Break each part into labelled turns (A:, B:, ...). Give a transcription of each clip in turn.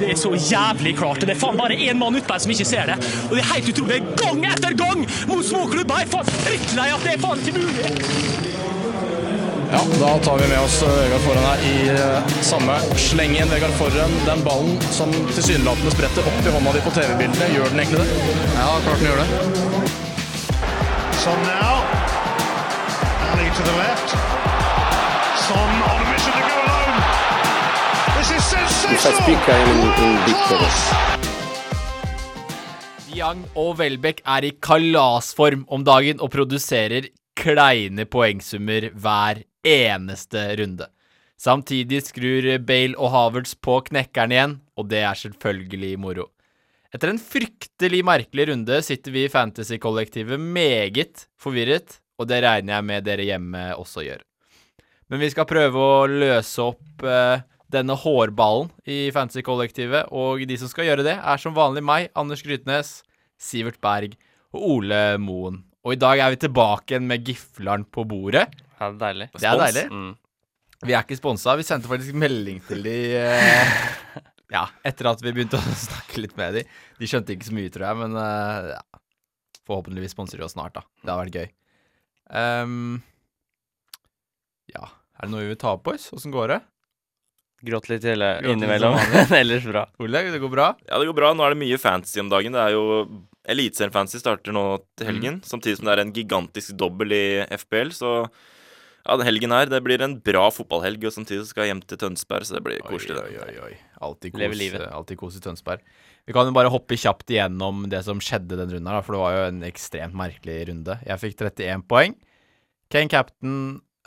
A: Det er så jævlig klart. og Det er faen bare én mann ute her som ikke ser det. Og det er helt utrolig. Gang etter gang mot småklubber! Jeg er faen drittlei at det er faen ikke mulig!
B: Ja, da tar vi med oss eh, Vegard Forhen her i eh, samme slengen. Vegard Forhen, den ballen som tilsynelatende spretter opp i hånda di på TV-bildene, gjør den egentlig det? Ja, klart den gjør det.
C: Son now. Ali to the left. Son on a mission to go alone. This is sensational.
D: pica en- en big
C: Class.
E: Young og Welbeck er i kalasform om dagen og produserer kleine poengsummer hver eneste runde. Samtidig skrur Bale og Havertz på knekkeren igjen, og det er selvfølgelig moro. Etter en fryktelig merkelig runde sitter vi i Fantasy-kollektivet meget forvirret, og det regner jeg med dere hjemme også gjør. Men vi skal prøve å løse opp eh, denne hårballen i Fantasy-kollektivet. Og de som skal gjøre det, er som vanlig meg, Anders Grytnes, Sivert Berg og Ole Moen. Og i dag er vi tilbake igjen med gifleren på bordet.
F: Ja, det er deilig.
E: Det er deilig.
F: Mm.
E: Vi er ikke sponsa. Vi sendte faktisk melding til de eh, Ja, etter at vi begynte å snakke litt med de. De skjønte ikke så mye, tror jeg, men eh, ja. forhåpentligvis sponser de oss snart, da. Det hadde vært gøy. Ehm, ja. Er det noe vi vil ta opp, boys? Åssen går det?
F: Gråt litt hele
E: Gråt litt
F: innimellom,
E: som
F: men ellers bra.
E: Ole, det går bra?
G: Ja, det går bra. Nå er det mye fantasy om dagen. Det er jo Eliteserien Fantasy starter nå
E: Mm.
G: til helgen, samtidig som det er en gigantisk dobbel i FBL, så ja, den helgen her, det blir en bra fotballhelg, og samtidig så skal jeg hjem til Tønsberg, så det blir koselig, det.
E: Oi, oi, oi. Alltid
F: Leve
E: kos, eh,
F: livet.
E: alltid kos i Tønsberg. Vi kan jo bare hoppe kjapt igjennom det som skjedde den runden her, da, for det var jo en ekstremt merkelig runde. Jeg fikk 31 poeng. Kane captain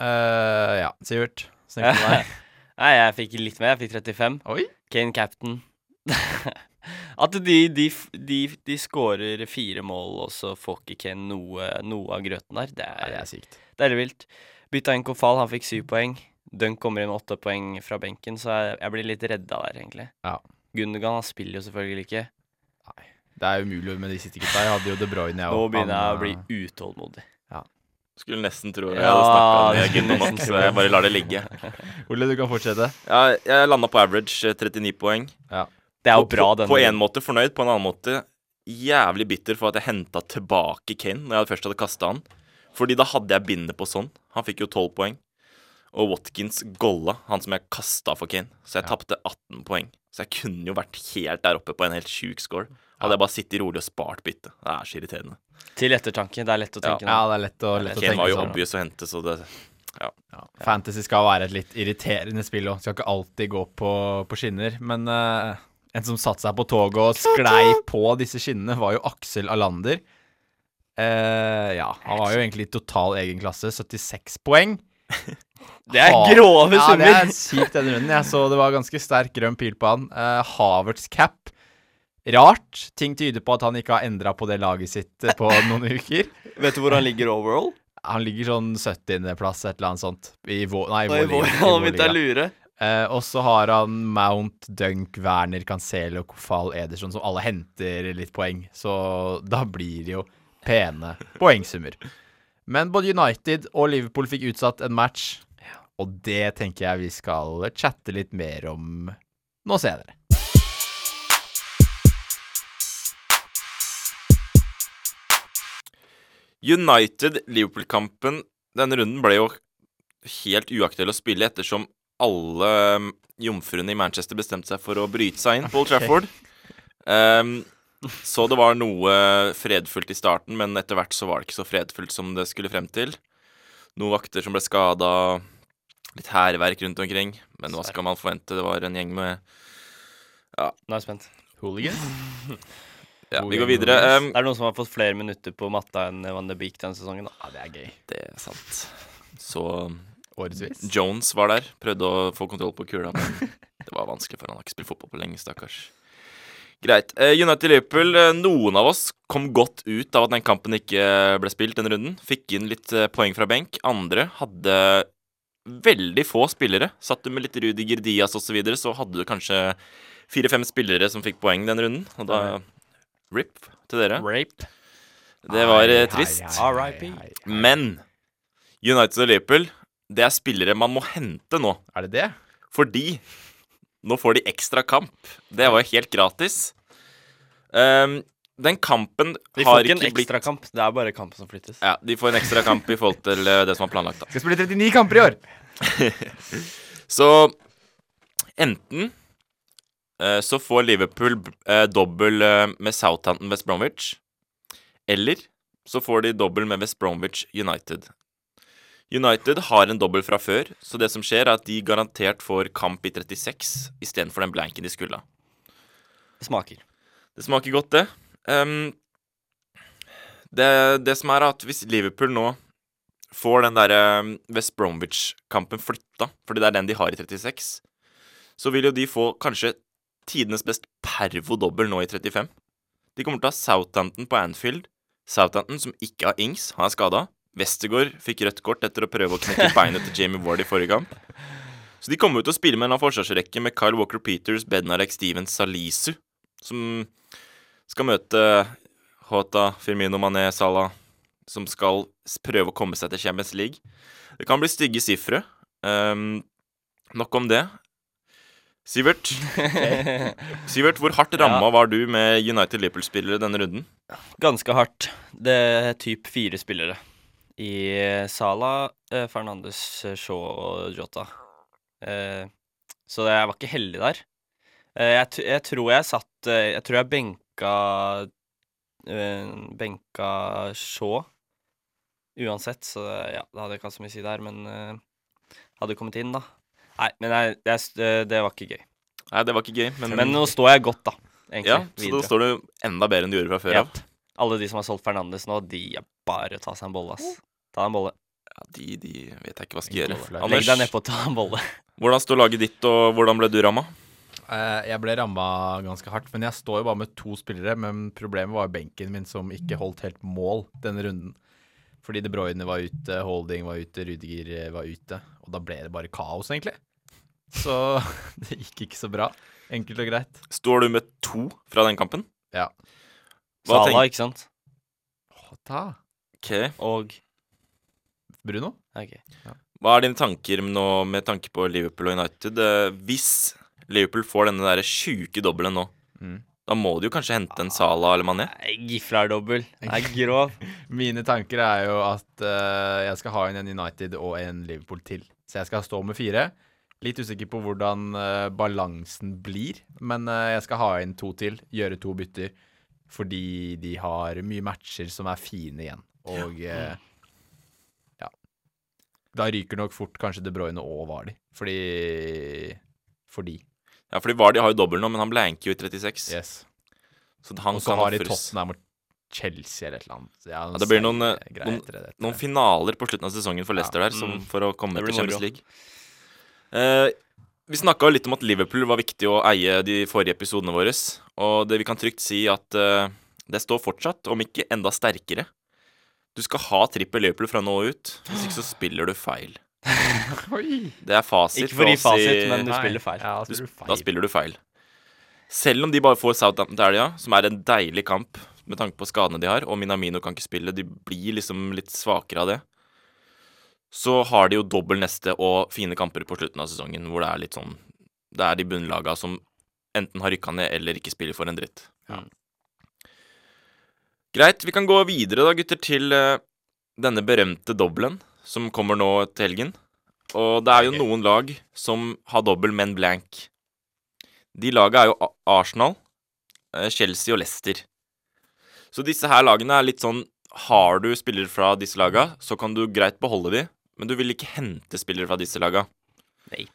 E: eh, Ja, Sivert. Snakk til deg.
F: Nei, jeg fikk litt mer. Jeg fikk 35.
E: Oi.
F: Kane captain. At de, de, f- de, de skårer fire mål, og så får ikke Kane noe, noe av grøten der. Det
E: Nei,
F: er,
E: det er sykt.
F: det er vilt. Bytta inn Kofal, han fikk syv poeng. Dunk kommer inn med åtte poeng fra benken, så jeg, jeg blir litt redda der, egentlig.
E: Ja.
F: Gundogan han spiller jo selvfølgelig ikke.
E: Det er umulig med de siste gutta. Jeg hadde jo De Bruyne, jeg
F: Nå
E: og
F: begynner jeg
E: han,
F: å bli
E: eh,
F: utålmodig.
G: Skulle nesten tro jeg
F: Ja,
G: hadde snakka
F: det
G: med
F: skulle
G: Gunn og
F: nesten
G: Max,
F: tro
G: så
F: det.
G: jeg bare lar det ligge.
E: Ole, du kan fortsette.
G: Ja, jeg landa på average eh, 39 poeng.
F: Det er jo
G: Og
F: bra,
G: på,
F: denne
G: på en måte fornøyd, på en annen måte jævlig bitter for at jeg henta tilbake Kane når jeg først hadde kasta han. Fordi da hadde jeg bindet på sånn. Han fikk jo 12 poeng. Og Watkins golla, han som jeg kasta for Kane. Så jeg tapte 18 poeng. Så jeg kunne jo vært helt der oppe på en helt sjuk score. Hadde jeg bare sittet rolig og spart byttet. Det er så irriterende.
F: Til ettertanke. Det er lett å
E: Ja,
F: tenke nå.
E: det er lett å, lett å
G: Kane
E: tenke
G: var jo
E: sånn.
G: obvious å hente, så det
E: Ja. Fantasy skal være et litt irriterende spill òg. Skal ikke alltid gå på, på skinner. Men eh, en som satte seg på toget og sklei på disse skinnene, var jo Aksel Alander. Eh, ja, han var jo egentlig i total egen klasse. 76 poeng.
F: Det er
E: Ha-
F: grove
E: Ja,
F: summer!
E: det er sykt denne runden. Jeg så det var ganske sterk grønn pil på han. Eh, Havertz cap. Rart. Ting tyder på at han ikke har endra på det laget sitt eh, på noen uker.
F: Vet du hvor han ligger overall?
E: Han ligger sånn 70.-plass, et eller annet sånt. I vår, nei, i
F: Oi,
E: vår,
F: hvor
E: liga. I
F: han
E: vår
F: begynte å
E: liga.
F: lure.
E: Eh, og så har han Mount, Dunk, Werner, Cancelo, Kofal, Ederson, som alle henter litt poeng. Så da blir det jo pene poengsummer. Men både United og Liverpool fikk utsatt en match, og det tenker jeg vi skal chatte litt mer om nå senere.
G: United-Liverpool-kampen Denne runden ble jo helt uaktuell å spille ettersom alle um, jomfruene i Manchester bestemte seg for å bryte seg inn på Old Trafford. Um, så det var noe fredfullt i starten, men etter hvert så var det ikke så fredfullt som det skulle frem til. Noen vakter som ble skada, litt hærverk rundt omkring. Men hva skal man forvente? Det var en gjeng med
F: Nå er jeg spent.
E: Hooligans?
G: Ja,
E: God
G: vi
E: gjeng
G: går videre.
E: med
G: Um,
F: Det er noen som har fått flere minutter på matta enn Van de Beek denne sesongen. da.
E: Ja, det er gøy.
G: det er sant. Så
E: Årevis.
G: Jones var der, prøvde å få kontroll på kula, men det var vanskelig for han har ikke spilt fotball på lenge, stakkars. Greit. Eh, United Liverpool, eh, noen av oss kom godt ut av at den kampen ikke eh, ble spilt den runden. Fikk inn litt eh, poeng fra benk. Andre hadde veldig få spillere. Satt du med litt Rudiger Diaz osv., så, videre, så hadde du kanskje fire-fem spillere som fikk poeng den runden. Og da RIP til dere.
F: Rape.
G: Det var eh,
E: Hei, hei,
G: trist.
E: hei, hei,
F: RIP.
E: hei.
G: Men United og Liverpool, det er spillere man må hente nå.
E: Er det det?
G: Fordi Nå får de ekstra kamp. Det var jo helt gratis. Ehm, den kampen
F: De
G: har
F: får ikke en
G: ikke blitt
F: ekstrakamp. Det er bare kampen som flyttes.
G: ja, De får en ekstra kamp i forhold til eh, det som var planlagt. da
E: Skal spille 39 kamper i år.
G: Så enten eh, så får Liverpool eh, dobbel eh, med Southampton West Bromwich, eller så får de dobbel med West Bromwich United. United har en dobbel fra før, så det som skjer, er at de garantert får kamp i 36 istedenfor den blanken de skulle ha.
F: Det smaker.
G: Det smaker godt, det. Ehm, det. Det som er at hvis Liverpool nå får den der ehm, West Bromwich-kampen flytta, fordi det er den de har i 36, så vil jo de få kanskje tidenes best pervo-dobbel nå i 35. De kommer til å ha Southampton på Anfield. Southampton som ikke har Ings, han er skada. Westergård fikk rødt kort etter å prøve å knekke beinet til Jamie Ward i forrige kamp. Så de kommer jo til å spille med en av forsvarsrekke med Kyle Walker Peters, Bednarek Stevens, Salisu, som skal møte Hota, Firmino Mané, Salah, som skal s- prøve å komme seg til Champions League. Det kan bli stygge sifre. Ehm, nok om det. Sivert, Sivert, hvor hardt ramma var du med United Liverpool-spillere denne runden?
F: Ganske hardt. Det er typ fire spillere. I Sala, eh, Fernandes, eh, Shaw og Jota. Eh, Så jeg var ikke heldig der. Eh, Jeg, t jeg tror jeg satt eh, Jeg tror jeg benka eh, Benka Shaw uansett, så ja, det hadde jeg ikke hatt så mye å si der, men eh, hadde kommet inn, da. Nei, men jeg, jeg, s- eh, det var ikke gøy.
G: Nei, det var ikke gøy, men,
F: Men nå står jeg godt, da. Egentlig.
G: ja, så da
F: videre.
G: står du enda bedre enn du gjorde fra før
F: Ja.
G: av.
F: Alle de som har solgt Fernandes nå, de er bare å ta seg en bolle, ass. Ta deg en bolle.
G: Ja, de, de vet jeg ikke hva skal
E: Ikke
G: gjøre.
E: offline.
F: Legg deg
G: Anders,
F: nedpå og ta en bolle.
G: hvordan står laget ditt, og hvordan ble du ramma?
E: Eh, Jeg ble ramma ganske hardt, men jeg står jo bare med to spillere. Men problemet var jo benken min som ikke holdt helt mål denne runden. Fordi De Bruyne var ute, Holding var ute, Rudiger eh, var ute. Og da ble det bare kaos, egentlig. Så det gikk ikke så bra. Enkelt og greit.
G: Står du med to fra den kampen?
E: Ja.
G: Hva
F: Sala, ikke sant?
E: Ta.
G: Ok.
F: Og
E: Bruno?
F: Ok.
G: Hva er dine tanker nå med tanke på Liverpool og United? Eh, Hvis Liverpool får denne der sjuke dobbelen nå,
E: Mm. Ah,
G: da må de jo kanskje hente en Salah eller Mané?
F: Nei, Gifla er dobbel. Den er grov.
E: Mine tanker er jo at eh, jeg skal ha inn en United og en Liverpool til. Så jeg skal stå med fire. Litt usikker på hvordan eh, balansen blir, men eh, jeg skal ha inn to til. Gjøre to bytter. Fordi de har mye matcher som er fine igjen. Og eh, ja. Da ryker nok fort kanskje De Bruyne og Vardi. Fordi Fordi.
G: Ja, fordi Vardy har jo dobbel nå, men han blanker jo i 36.
E: Yes.
G: Så han
E: Og så
G: kan
E: har de
G: ofres.
E: Tottenham og Chelsea eller et eller annet. Ja,
G: Ja, det blir noen, eh,
E: serie- greier
G: noen-
E: etter det, etter
G: Noen
E: det.
G: finaler på slutten av sesongen for Leicester der, som,
F: Mm.
G: for å komme
F: Det
G: til
F: blir
G: Champions
F: moro.
G: League. Eh, vi snakka litt om at Liverpool var viktig å eie de forrige episodene våre. Og det vi kan trygt si at eh, det står fortsatt, om ikke enda sterkere. Du skal ha trippel Liverpool fra nå ut, hvis ikke så spiller du feil. Det er fasit.
F: Ikke for å gi
G: oss i-
F: fasit, men du
E: Nei.
F: spiller feil.
E: Ja,
G: du,
E: spiller du
G: da
E: feil.
G: spiller du feil. Selv om de bare får Southampton til helga, som er en deilig kamp med tanke på skadene de har, og Minamino kan ikke spille, de blir liksom litt svakere av det, så har de jo dobbel neste og fine kamper på slutten av sesongen, hvor det er litt sånn Det er de bunnlaga som enten har rykka ned eller ikke spiller for en dritt.
F: Ja.
G: Greit, vi kan gå videre da, gutter, til eh, denne berømte dobbelen som kommer nå til helgen. Og det er jo noen lag som har dobbel, men blank. De laga er jo A- Arsenal, eh, Chelsea og Leicester. Så disse her lagene er litt sånn Har du spillere fra disse laga, så kan du greit beholde de, men du vil ikke hente spillere fra disse laga.
F: Nei.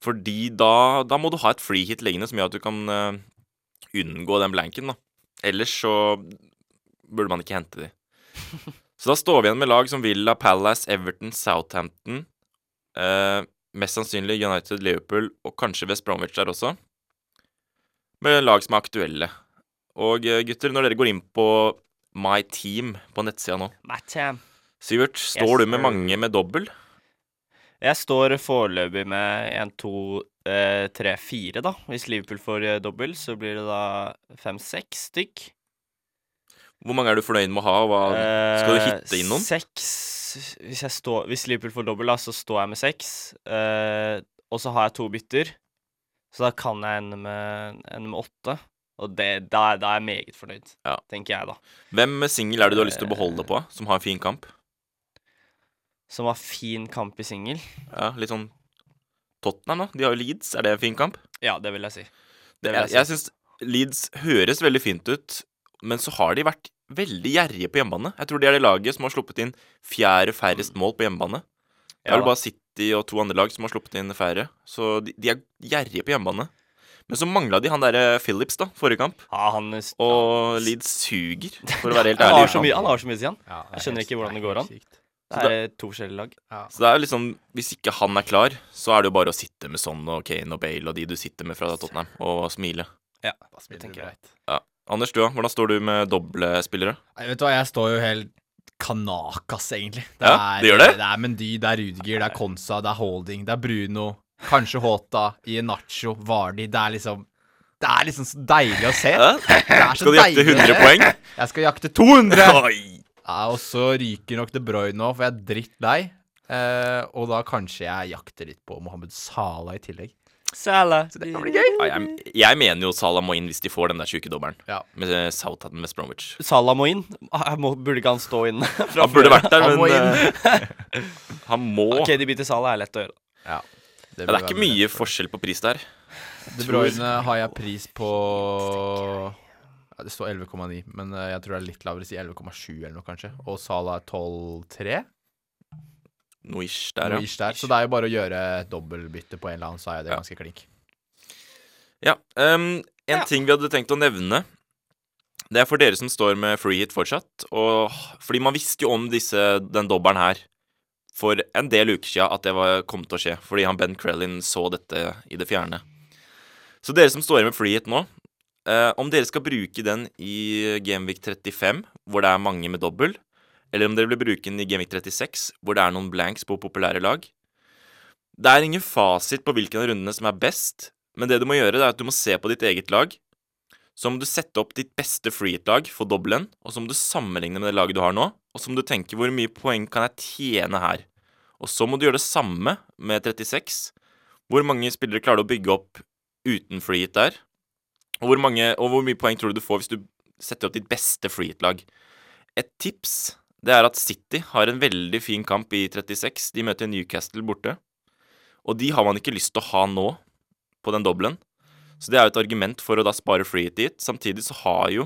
G: Fordi da, da må du ha et free hit liggende som gjør at du kan eh, unngå den blanken, da. Ellers så burde man ikke hente de. Så da står vi igjen med lag som Villa, Palace, Everton, Southampton. Eh, mest sannsynlig United, Liverpool og kanskje West Bromwich der også. Med lag som er aktuelle. Og eh, gutter, når dere går inn på My Team på nettsida nå
F: Matcham.
G: Sivert, står
F: Yes,
G: du med
F: sir.
G: mange med dobbel?
F: Jeg står foreløpig med 1, 2, 3, 4, da. Hvis Liverpool får eh, dobbel, så blir det da 5-6 stykk.
G: Hvor mange er du fornøyd med å ha? og Hva, skal du
F: Eh,
G: hitte inn noen?
F: Seks hvis, jeg står, hvis Liverpool får dobbel, da, så står jeg med seks. Eh, og så har jeg to bytter. Så da kan jeg ende med, ende med åtte. Og det, da, er- da er jeg meget fornøyd,
G: Ja.
F: tenker jeg, da.
G: Hvem singel er det du har lyst til å
F: Eh.
G: beholde på, som har en fin kamp?
F: Som var fin kamp i singel.
G: Ja, Litt sånn Tottenham, da. De har jo Leeds. Er det en fin kamp?
F: Ja, det vil jeg si.
G: Det,
F: Det vil
G: jeg
F: jeg si.
G: jeg syns Leeds høres veldig fint ut, men så har de vært veldig gjerrige på hjemmebane. Jeg tror de er det laget som har sluppet inn fjerde færrest mål på hjemmebane. Det
F: Ja
G: er vel
F: da.
G: bare City og to andre lag som har sluppet inn færre, så de, de er gjerrige på hjemmebane. Men så mangla de han derre Phillips, da, forrige kamp.
F: Ja, han,
G: Og Leeds suger, for å være helt
F: han,
G: ærlig.
F: har så mye, han har så mye, sier han.
E: Ja, det er
F: Jeg skjønner
E: helt-
F: ikke hvordan det går an.
E: helt sykt.
F: Det er eh, to forskjellige lag.
G: Så det er liksom, Hvis ikke han er klar, så er det jo bare å sitte med Son og Kane og Bale og de du sitter med fra Tottenham, og smile.
F: Ja,
E: Da spiller
F: det
E: du
F: tenker jeg.
E: greit.
G: Anders, du da? Hvordan står du med doble spillere?
E: Nei, vet du hva, jeg står jo helt kanakas, egentlig.
G: Ja,
E: er,
G: det gjør det.
E: Det er Mendy, det er Rudiger, det er Konsa, det er Holding, det er Bruno, kanskje Håta, Ienacho, Vardi. Det er liksom Det er liksom så deilig å se.
G: Ja.
E: Det er så
G: Skal du jakte
E: deilig å se.
G: 100 poeng?
E: Jeg skal jakte 200!
G: Oi!
E: Ja, og så ryker nok De Bruyne nå, for jeg er drittlei. Eh, og da kanskje jeg jakter litt på Mohammed Salah i tillegg.
F: Salah.
G: Ja, jeg, jeg mener jo Salah må inn hvis de får den der sjuke dommeren.
E: Ja.
G: Med eh, Southampton West Bromwich.
F: Salah må inn. Ah, må- Burde ikke han stå inne? fra
G: Han burde
F: før?
G: vært der,
E: Han
G: men
E: må
G: eh, Han må
F: OK, de bytter Salah, er lett å gjøre.
E: Det,
G: ja, Det er ikke mye forskjell på pris der.
E: De Bruyne eh, har jeg pris på ja, Det står 11,9, men eh, jeg tror det er litt lavere. Si 11,7 eller noe, kanskje. Og Salah er 12,3.
G: Noe ish
E: noe
G: der, ja.
E: ish der. Så det er jo bare å gjøre et dobbeltbytte på en eller annen, så er jo det
G: Ja.
E: ganske klink.
G: ja ehm, en ting vi hadde tenkt å nevne, det er for dere som står med free hit fortsatt. Og, fordi man visste jo om disse, den dobbelen her for en del uker siden at det var, kom til å skje. Fordi han Ben Crellin så dette i det fjerne. Så dere som står med free hit nå, Eh, om dere skal bruke den i Gameweek 35, hvor det er mange med dobbel, eller om dere vil bruke den i Gameweek 36, hvor det er noen blanks på populære lag. Det er ingen fasit på hvilken av rundene som er best, men det du må gjøre, det er at du må se på ditt eget lag. Så må du sette opp ditt beste freehit-lag for dobbelen, og så må du sammenligne med det laget du har nå, og så må du tenke hvor mye poeng kan jeg tjene her. Og så må du gjøre det samme med 36. Hvor mange spillere klarer du å bygge opp uten freehit der? Og hvor, mange, og hvor mye poeng tror du du får hvis du setter opp ditt beste freehit-lag? Et tips det er at City har en veldig fin kamp i 36. De møter Newcastle borte. Og de har man ikke lyst til å ha nå, på den dobbelen. Så det er jo et argument for å da spare freehit dit. Samtidig så har jo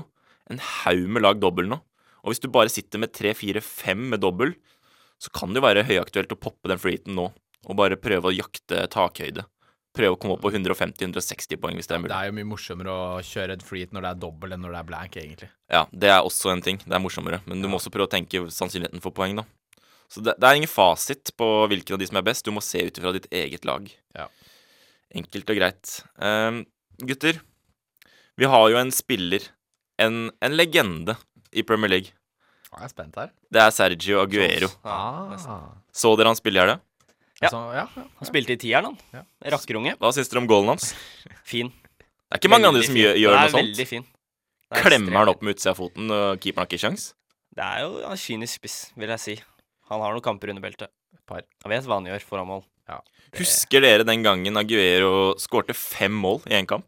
G: en haug med lag dobbel nå. Og hvis du bare sitter med tre, fire, fem med dobbel, så kan det jo være høyaktuelt å poppe den freehiten nå. Og bare prøve å jakte takhøyde. Prøve å komme opp på 150-160 poeng, hvis det er mulig.
E: Det er jo mye morsommere å kjøre et freehit når det er dobbel, enn når det er blank, egentlig.
G: Ja, det er også en ting. Det er morsommere. Men du må også prøve å tenke sannsynligheten for poeng, da. Så det, det er ingen fasit på hvilken av de som er best. Du må se ut ifra ditt eget lag.
E: Ja.
G: Enkelt og greit. Ehm, gutter, vi har jo en spiller, en, en legende, i Premier League.
E: Ja, jeg er spent her.
G: Det er Sergio Aguero.
F: Ja, nesten.
E: Ah.
G: Så dere han spille i helga?
F: Ja.
E: Altså, ja, ja.
F: Han spilte i tieren, han.
E: Ja.
F: Rakkerunge.
G: Hva syns dere om goalen hans?
F: Fin.
G: Det er ikke mange andre
F: Veldig
G: som
F: fin.
G: gjør, gjør noe
F: Den er
G: sånt.
F: Veldig fin. Den er
G: Klemmer han
F: ekstremt-
G: opp med utsida av foten, og keeperen har ikke kjangs?
F: Det er jo han er kynisk spiss, vil jeg si. Han har noen kamper under beltet.
E: par.
F: Han vet hva han gjør foran mål.
G: Husker dere den gangen Aguero skårte fem mål i én kamp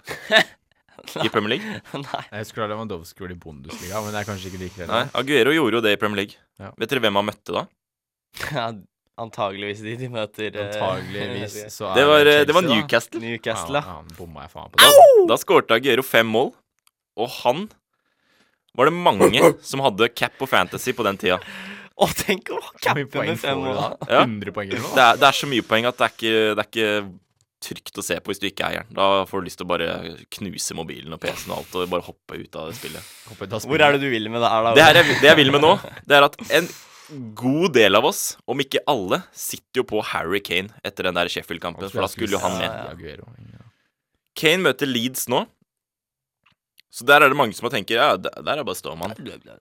G: i Premier League?
F: Nei.
E: Jeg husker da Lewandowski gjorde det i Bundesliga, men det er kanskje ikke like
G: Nei,
E: relevant.
G: Aguero gjorde jo det i Premier League.
E: Ja.
G: Vet dere hvem han møtte da?
F: Ja, antageligvis de de møter eh,
E: Antageligvis så er
G: Det var, eh,
E: Chelsea,
G: det var
E: da.
G: Newcastle.
F: Newcastle,
E: Ja,
F: ja.
E: han bomma jeg faen på.
G: Da, da skårte Aguero fem mål, og han var det mange som hadde cap på Fantasy på den tida.
F: Å, tenk å
E: Så mye
F: cappe
E: poeng
F: med fem
E: får du
F: mål.
E: da?
F: da.
G: Ja.
E: 100 poeng eller
G: Det
E: noe?
G: er, det er så mye poeng at det er ikke, det er ikke trygt å se på hvis du ikke eier den. Da får du lyst til å bare knuse mobilen og PC-en og alt og bare hoppe ut av det spillet.
F: Hvor er det du vil med det her, da?
G: Det, her jeg, det jeg vil med nå, det er at en god del av oss, om ikke alle, sitter jo på Harry Kane etter den der Sheffield-kampen, for da skulle jo han med.
E: Aguero.
G: Kane møter Leeds nå. Så der er det mange som tenker ja, der der er bare Ståman.
F: Ole?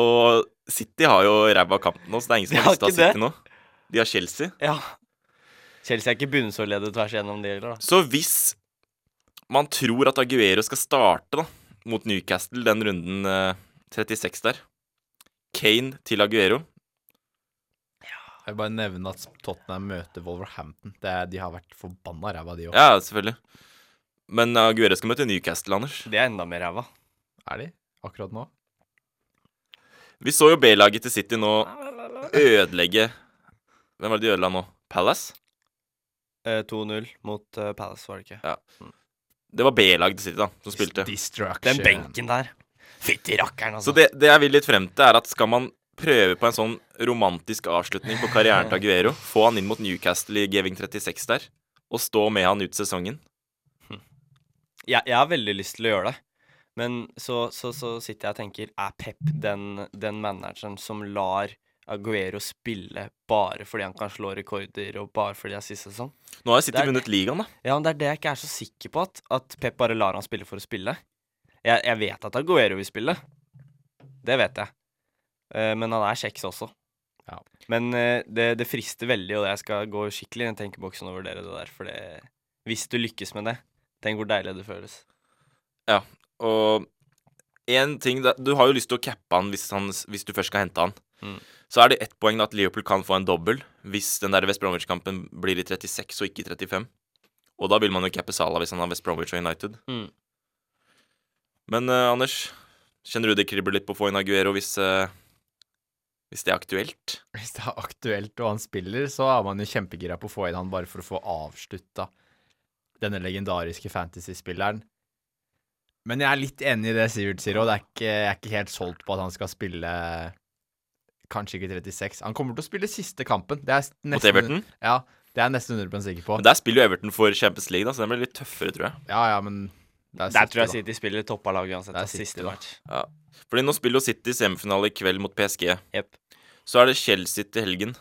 G: Og City har jo ræva kamp nå, så det er ingen som
F: De
G: har
F: har
G: lyst til å ha
F: ikke det.
G: City nå. De har Chelsea.
F: Ja. Chelsea er ikke bunnsårledet tvers igjennom, de heller, da.
G: Så hvis man tror at Aguero skal starte da, mot Newcastle den runden eh, 36 der Kane til Aguero
E: Jeg vil bare nevne at Tottenham møter Wolverhampton. Det, er- de har vært forbanna ræva, de òg.
G: Ja, selvfølgelig. Men Aguero skal møte Newcastle, Anders.
F: Det er enda mer ræva.
E: Er de? Akkurat nå?
G: Vi så jo B-laget til City nå ødelegge Hvem var det de ødela nå? Palace?
F: Eh, 2-0 mot eh, Palace, var det ikke?
G: Det var B-laget til City da, som spilte.
E: Destruction.
F: Den benken der. Fytti rakkeren,
G: Så
F: altså.
G: det, det jeg vil litt frem til, er at skal man prøve på en sånn romantisk avslutning på karrieren til Aguero, få han inn mot Newcastle i Geving 36 der, og stå med han ut sesongen
F: Jeg, jeg har veldig lyst til å gjøre det. Men så, så, så sitter jeg og tenker, er Pep den, den manageren som lar Aguero spille bare fordi han kan slå rekorder, og bare fordi det er siste sesong?
G: Nå har jo City
F: Det er-
G: vunnet ligaen, da.
F: Ja, men det er det jeg ikke er så sikker på, at, at Pep bare lar han spille for å spille. Jeg, jeg vet at Aguero vil spille. Det vet jeg. Eh, men han er kjeks også.
E: Ja.
F: Men eh, det, det frister veldig, og jeg skal gå skikkelig inn i tenkeboksen og vurdere det der, for det Hvis du lykkes med det, tenk hvor deilig det føles.
G: Og en ting da, Du har jo lyst til å cappe han hvis, han hvis du først skal hente han.
F: Mm.
G: Så er det ett poeng da at Liverpool kan få en dobbel hvis den der West Bromwich-kampen blir i 36 og ikke i 35. Og da vil man jo cappe Salah hvis han har West Bromwich og United.
F: Mm.
G: Men eh, Anders, kjenner du det kribler litt på å få inn Aguero hvis, eh, hvis det er aktuelt?
E: Hvis det er aktuelt og han spiller, så er man jo kjempegira på å få inn han bare for å få avslutta denne legendariske fantasy-spilleren. Men jeg er litt enig i det Sivert sier, og det er ikke, jeg er ikke helt solgt på at han skal spille Kanskje ikke 36. Han kommer til å spille siste kampen. Det er s- nesten,
G: Mot Everton?
E: Ja, det er jeg nesten 100 sikker på.
G: Men Der spiller jo Everton for Champions League, da, så den blir litt tøffere, tror jeg.
E: Ja, ja, men det er
F: Der
E: siste,
F: tror jeg
E: da.
F: City spiller toppa laget uansett.
E: Det er
F: da,
E: City,
F: siste
E: da.
F: match.
G: Fordi nå spiller jo City semifinale i kveld mot PSG.
F: Jep.
G: Så er det Chelsea til helgen.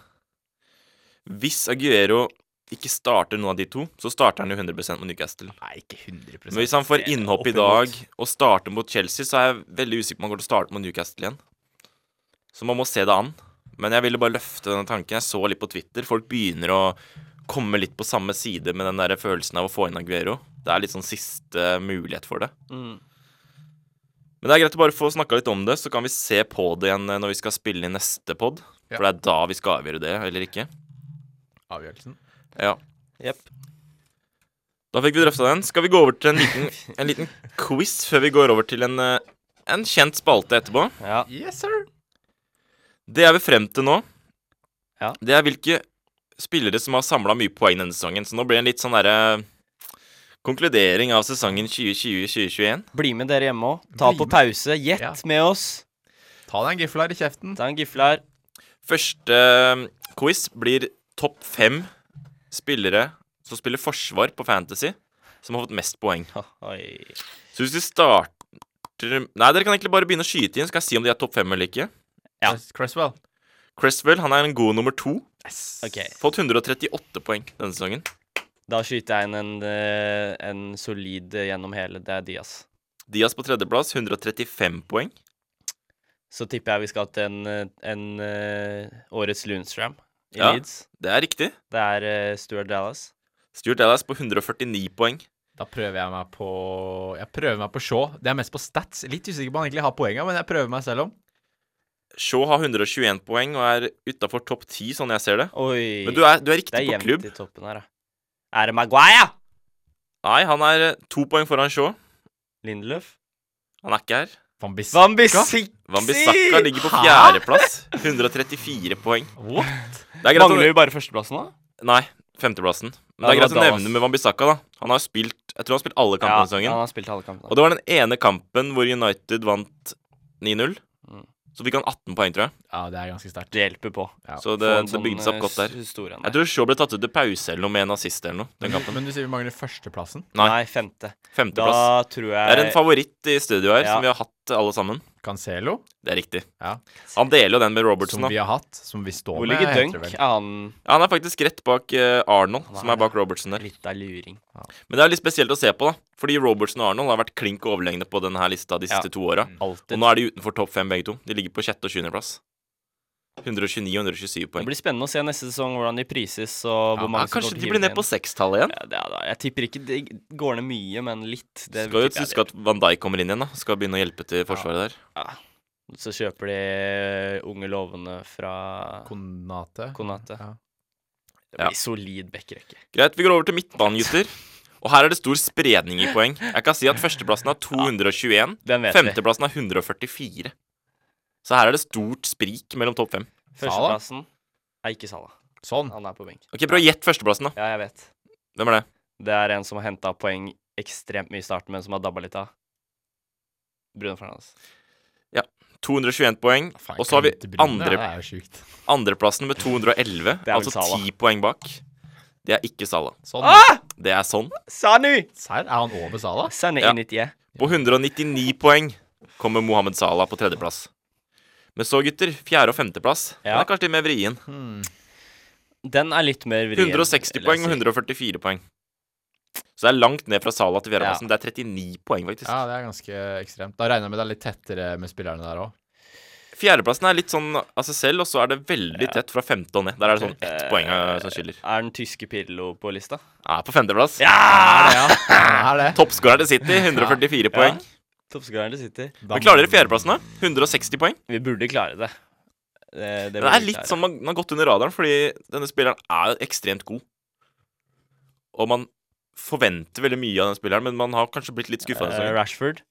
G: Hvis Aguero ikke starter noen av de to, så starter han jo 100 mot Newcastle.
E: Nei, ikke 100
G: Men hvis han får
F: Det er
G: innhopp i
F: oppimot.
G: dag og starter mot Chelsea, så er jeg veldig usikker på om han går til å starte mot Newcastle igjen. Så man må se det an. Men jeg ville bare løfte denne tanken. Jeg så litt på Twitter. Folk begynner å komme litt på samme side med den der følelsen av å få inn Aguero. Det er litt sånn siste mulighet for det.
F: Mm.
G: Men det er greit å bare få snakka litt om det, så kan vi se på det igjen eh, når vi skal spille i neste pod.
E: Ja.
G: For det er da vi skal avgjøre det, eller ikke.
E: Avgjørelsen.
G: Ja.
F: Jep.
G: Da fikk vi drøfta den. Skal vi gå over til en liten, en liten quiz før vi går over til en, eh, en kjent spalte etterpå?
F: Ja.
E: Yes, sir.
G: Det jeg vil frem til nå,
F: Ja.
G: det er hvilke spillere som har samla mye poeng denne sesongen. Så nå blir det en litt sånn derre konkludering av sesongen 2020-2021.
F: Bli med dere hjemme òg. Ta
E: Bli
F: på
E: med.
F: pause. Gjett
E: Ja.
F: med oss.
E: Ta deg en gifler i kjeften.
F: Ta en gifle her.
G: Første eh, quiz blir topp fem spillere som spiller forsvar på Fantasy, som har fått mest poeng.
F: Oi.
G: Så hvis vi starter Nei, dere kan egentlig bare begynne å skyte inn, så skal jeg si om de er topp fem eller ikke.
F: Ja.
E: Cresswell.
G: Cresswell han er en god nummer to.
E: Yes.
F: Ok.
G: Fått 138 poeng denne sesongen.
F: Da skyter jeg inn en, eh, en solid eh, gjennom hele. Det er Diaz.
G: Diaz på tredjeplass, 135 poeng.
F: Så tipper jeg vi skal til en, eh, en eh, årets Lundstram i
G: Ja.
F: Leeds.
G: Det er riktig.
F: Det er eh, Stuart Dallas.
G: Stuart Dallas på 149 poeng.
E: Da prøver jeg meg på Jeg prøver meg på Shaw. Det er mest på stats. Litt usikker på om han egentlig har poenga, men jeg prøver meg selv om.
G: Shaw har 121 poeng og er utafor topp 10, sånn jeg ser det.
F: Oi.
G: Men du er, du er
F: det
G: riktig
F: er
G: på
F: jevnt
G: klubb.
F: i toppen her, da. Er det Maguire?
G: Nei, han er eh, to poeng foran Shaw.
F: Lindløf?
G: Han er ikke her.
E: Van Bissaka?
F: Wambissi!
G: Wambisaka
F: Si!
G: ligger på
E: Hæ?
G: fjerdeplass. 134 poeng.
E: What?
G: Det er greit
F: Mangler
G: å
F: vi bare førsteplassen, da?
G: Nei, femteplassen. Men
F: Ja,
G: det er
F: det
G: greit
F: var
G: å
F: Dallas.
G: nevne med Wambisaka, da. Han har spilt Jeg tror han har spilt alle kampene i
F: ja,
G: sesongen.
F: han har spilt halve kampen.
G: Og det var den ene kampen hvor United vant 9-0.
F: Mm.
G: Så fikk han 18 poeng, tror jeg.
E: Ja, det er ganske sterkt.
F: Det hjelper på. sånn,
E: Ja,
G: Så det, det bygde seg opp godt
F: eh,
G: der. Jeg tror Shaw ble tatt ut til pause eller noe med en assist eller noe.
F: Mm.
G: Den kampen.
E: Men du sier vi mangler førsteplassen.
G: Nei.
F: Nei. Nei, femte. Da
G: Femteplass.
F: tror
G: Det
F: jeg
G: er en favoritt i studio her,
F: Ja.
G: som vi har hatt alle sammen.
E: Cancelo,
G: Det er riktig.
E: Ja.
G: Han deler jo den med Robertson,
E: som vi
G: da.
E: har hatt, som vi står
F: Hvor
E: med.
F: ligger
E: heter
F: Dunk?
E: det vel.
F: Er han
G: Ja, han er faktisk rett bak eh, Arnold,
F: Han er
G: som er
F: det.
G: bak Robertson der.
F: litt av luring?
G: Men det er litt spesielt å se på, da. Fordi Robertson og Arnold har vært klink overlegne på denne her lista de siste
F: Ja.
G: to åra. Og
F: Alltid.
G: nå er de utenfor topp fem, begge to. De ligger på sjette- og sjuendeplass. 129 og 127
F: Det
G: poeng.
F: blir spennende å se neste sesong hvordan de prises og hvor mange
G: Ja, kanskje de blir ned på sekstallet igjen?
F: ja, det er da. Jeg tipper ikke det går ned mye, men litt. Det
G: Skal jo
F: tipper jeg
G: huske at Van Dijk kommer inn igjen, da. Skal begynne å hjelpe til forsvaret der.
F: Ja. Så kjøper de eh, unge lovende fra
E: Konate.
F: Konate.
E: Ja.
F: Det
G: Ja.
F: blir solid backrekke.
G: Greit, vi går over til midtbanen, gutter. Og her er det stor spredning i poeng. Jeg kan si at førsteplassen har 221.
F: Den vet vi.
G: Femteplassen har 144. Så her er det stort sprik mellom topp fem.
F: Førsteplassen er ikke Salah.
E: Sånn.
F: Han er på benk.
G: Ok, Prøv å gjette førsteplassen, da.
F: Ja, jeg vet.
G: Hvem er det?
F: Det er en som har henta poeng ekstremt mye i starten, men som har dabba litt av. Bruno Fernandes.
G: 221 poeng.
E: Faen,
G: Og så har vi
E: Kante Brune,
G: andre,
E: Det er jo sjukt.
G: andreplassen med 211,
F: vel
G: altså
F: Salah.
G: ti poeng bak. Det er ikke Salah.
E: Sånn.
G: Det er sånn.
F: Sanu!
E: Serr, er han over Sala?
F: Ah, Sanu
G: Ja.
F: inn i tida.
G: På 199 poeng kommer Mohammed Salah på tredjeplass. Men så, gutter, fjerde- og femteplass Den
F: Ja.
G: er kanskje litt mer vrien.
F: Den er litt mer vrien.
G: 160 poeng og 144 poeng. Så det er langt ned fra Salah til fjerdeplassen. Det er 39 poeng, faktisk.
E: Ja, det er ganske ekstremt. Da regner jeg med det er litt tettere med spillerne der òg.
G: Fjerdeplassen er litt sånn av seg selv, og så er det veldig tett fra femte og ned. Der er det sånn ett poeng eh, som skiller.
F: Er den tyske Pirlo på lista?
G: Ja, på femteplass.
E: Er det, ja? Er det?
G: Toppskårer til City, 144 poeng.
F: Toppskåreren til City.
G: Men klarer dere fjerdeplassen, da? 160 poeng.
F: Vi burde klare det. Det, det
G: Det
F: burde
G: er
F: vi klare.
G: litt sånn man man har gått under radaren, fordi denne spilleren er jo ekstremt god. Og man forventer veldig mye av den spilleren, men man har kanskje blitt litt skuffa.
F: Eh, Rashford.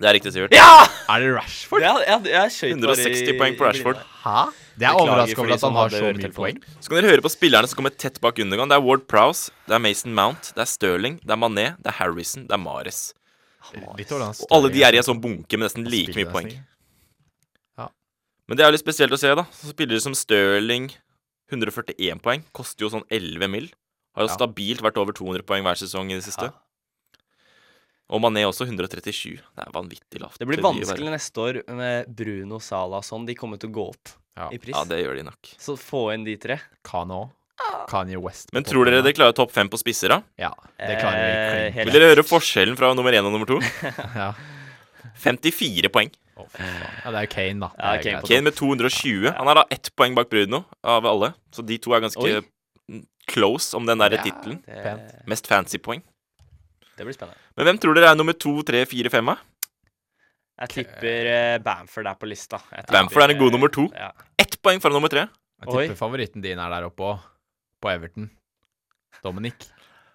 G: det er riktig, Sivert.
F: Ja!
E: Er det Rashford?
F: Jeg, jeg, jeg skjøt bare i-
G: 160 poeng på Rashford.
E: Hæ? Det er
F: Beklager
E: overraskende
F: for
E: over
F: de
E: at han
F: som
E: har
F: hadde
E: så mye
F: øretelefoner.
E: poeng.
G: Så kan dere høre på spillerne som kommer tett bak undergang. Det er Ward Prowse, det er Mason Mount, det er Sterling, det er Mané, det er Harrison, det er Mares.
E: Litt over den
G: Og alle de
E: større-
G: er i en sånn bunke med nesten like mye
E: Spilte
G: poeng.
E: nesten ikke.
G: Men det er jo litt spesielt å se, da. Så spillere som Sterling, 141 poeng, koster jo sånn 11 mil. Har jo
E: Ja.
G: stabilt vært over 200 poeng hver sesong i det siste.
F: Ja.
G: Og Mané også 137. Det er vanvittig lavt.
F: Det blir
G: vil jo
F: vanskelig neste år med Bruno, Salah og sånn. De kommer til å gå opp
E: Ja.
F: i
G: være-
F: pris.
G: Ja, det gjør de nok.
F: Så få inn de tre.
E: Kane òg. Kanye West. på
G: Men tror dere
E: toppen.
G: dere klarer topp fem på spisser, da?
E: Ja, det klarer vi.
F: Eh,
E: klink.
F: helt
G: Vil dere høre forskjellen fra nummer én og nummer to?
E: Ja.
G: 54 poeng.
E: Å, fy faen. ja, det er jo Kane, da.
F: Ja,
E: Det er
F: Kane på
E: greit.
G: Kane med 220. Han er da ett poeng bak Bruno av alle, så de to er ganske
F: Oi.
G: mm, close om den derre
E: Ja.
G: tittelen.
F: det,
E: Pent.
G: Mest fancy poeng.
F: det blir spennende.
G: Men hvem tror dere er nummer to, tre, fire, fem, da?
F: Jeg tipper eh, Bamford er på lista. Jeg tipper,
G: Bamford er en god
F: eh,
G: nummer to.
F: Ja.
G: Ett poeng fra nummer tre.
E: Jeg
F: Oi.
E: tipper favoritten din er der oppe òg. På Everton. Dominic.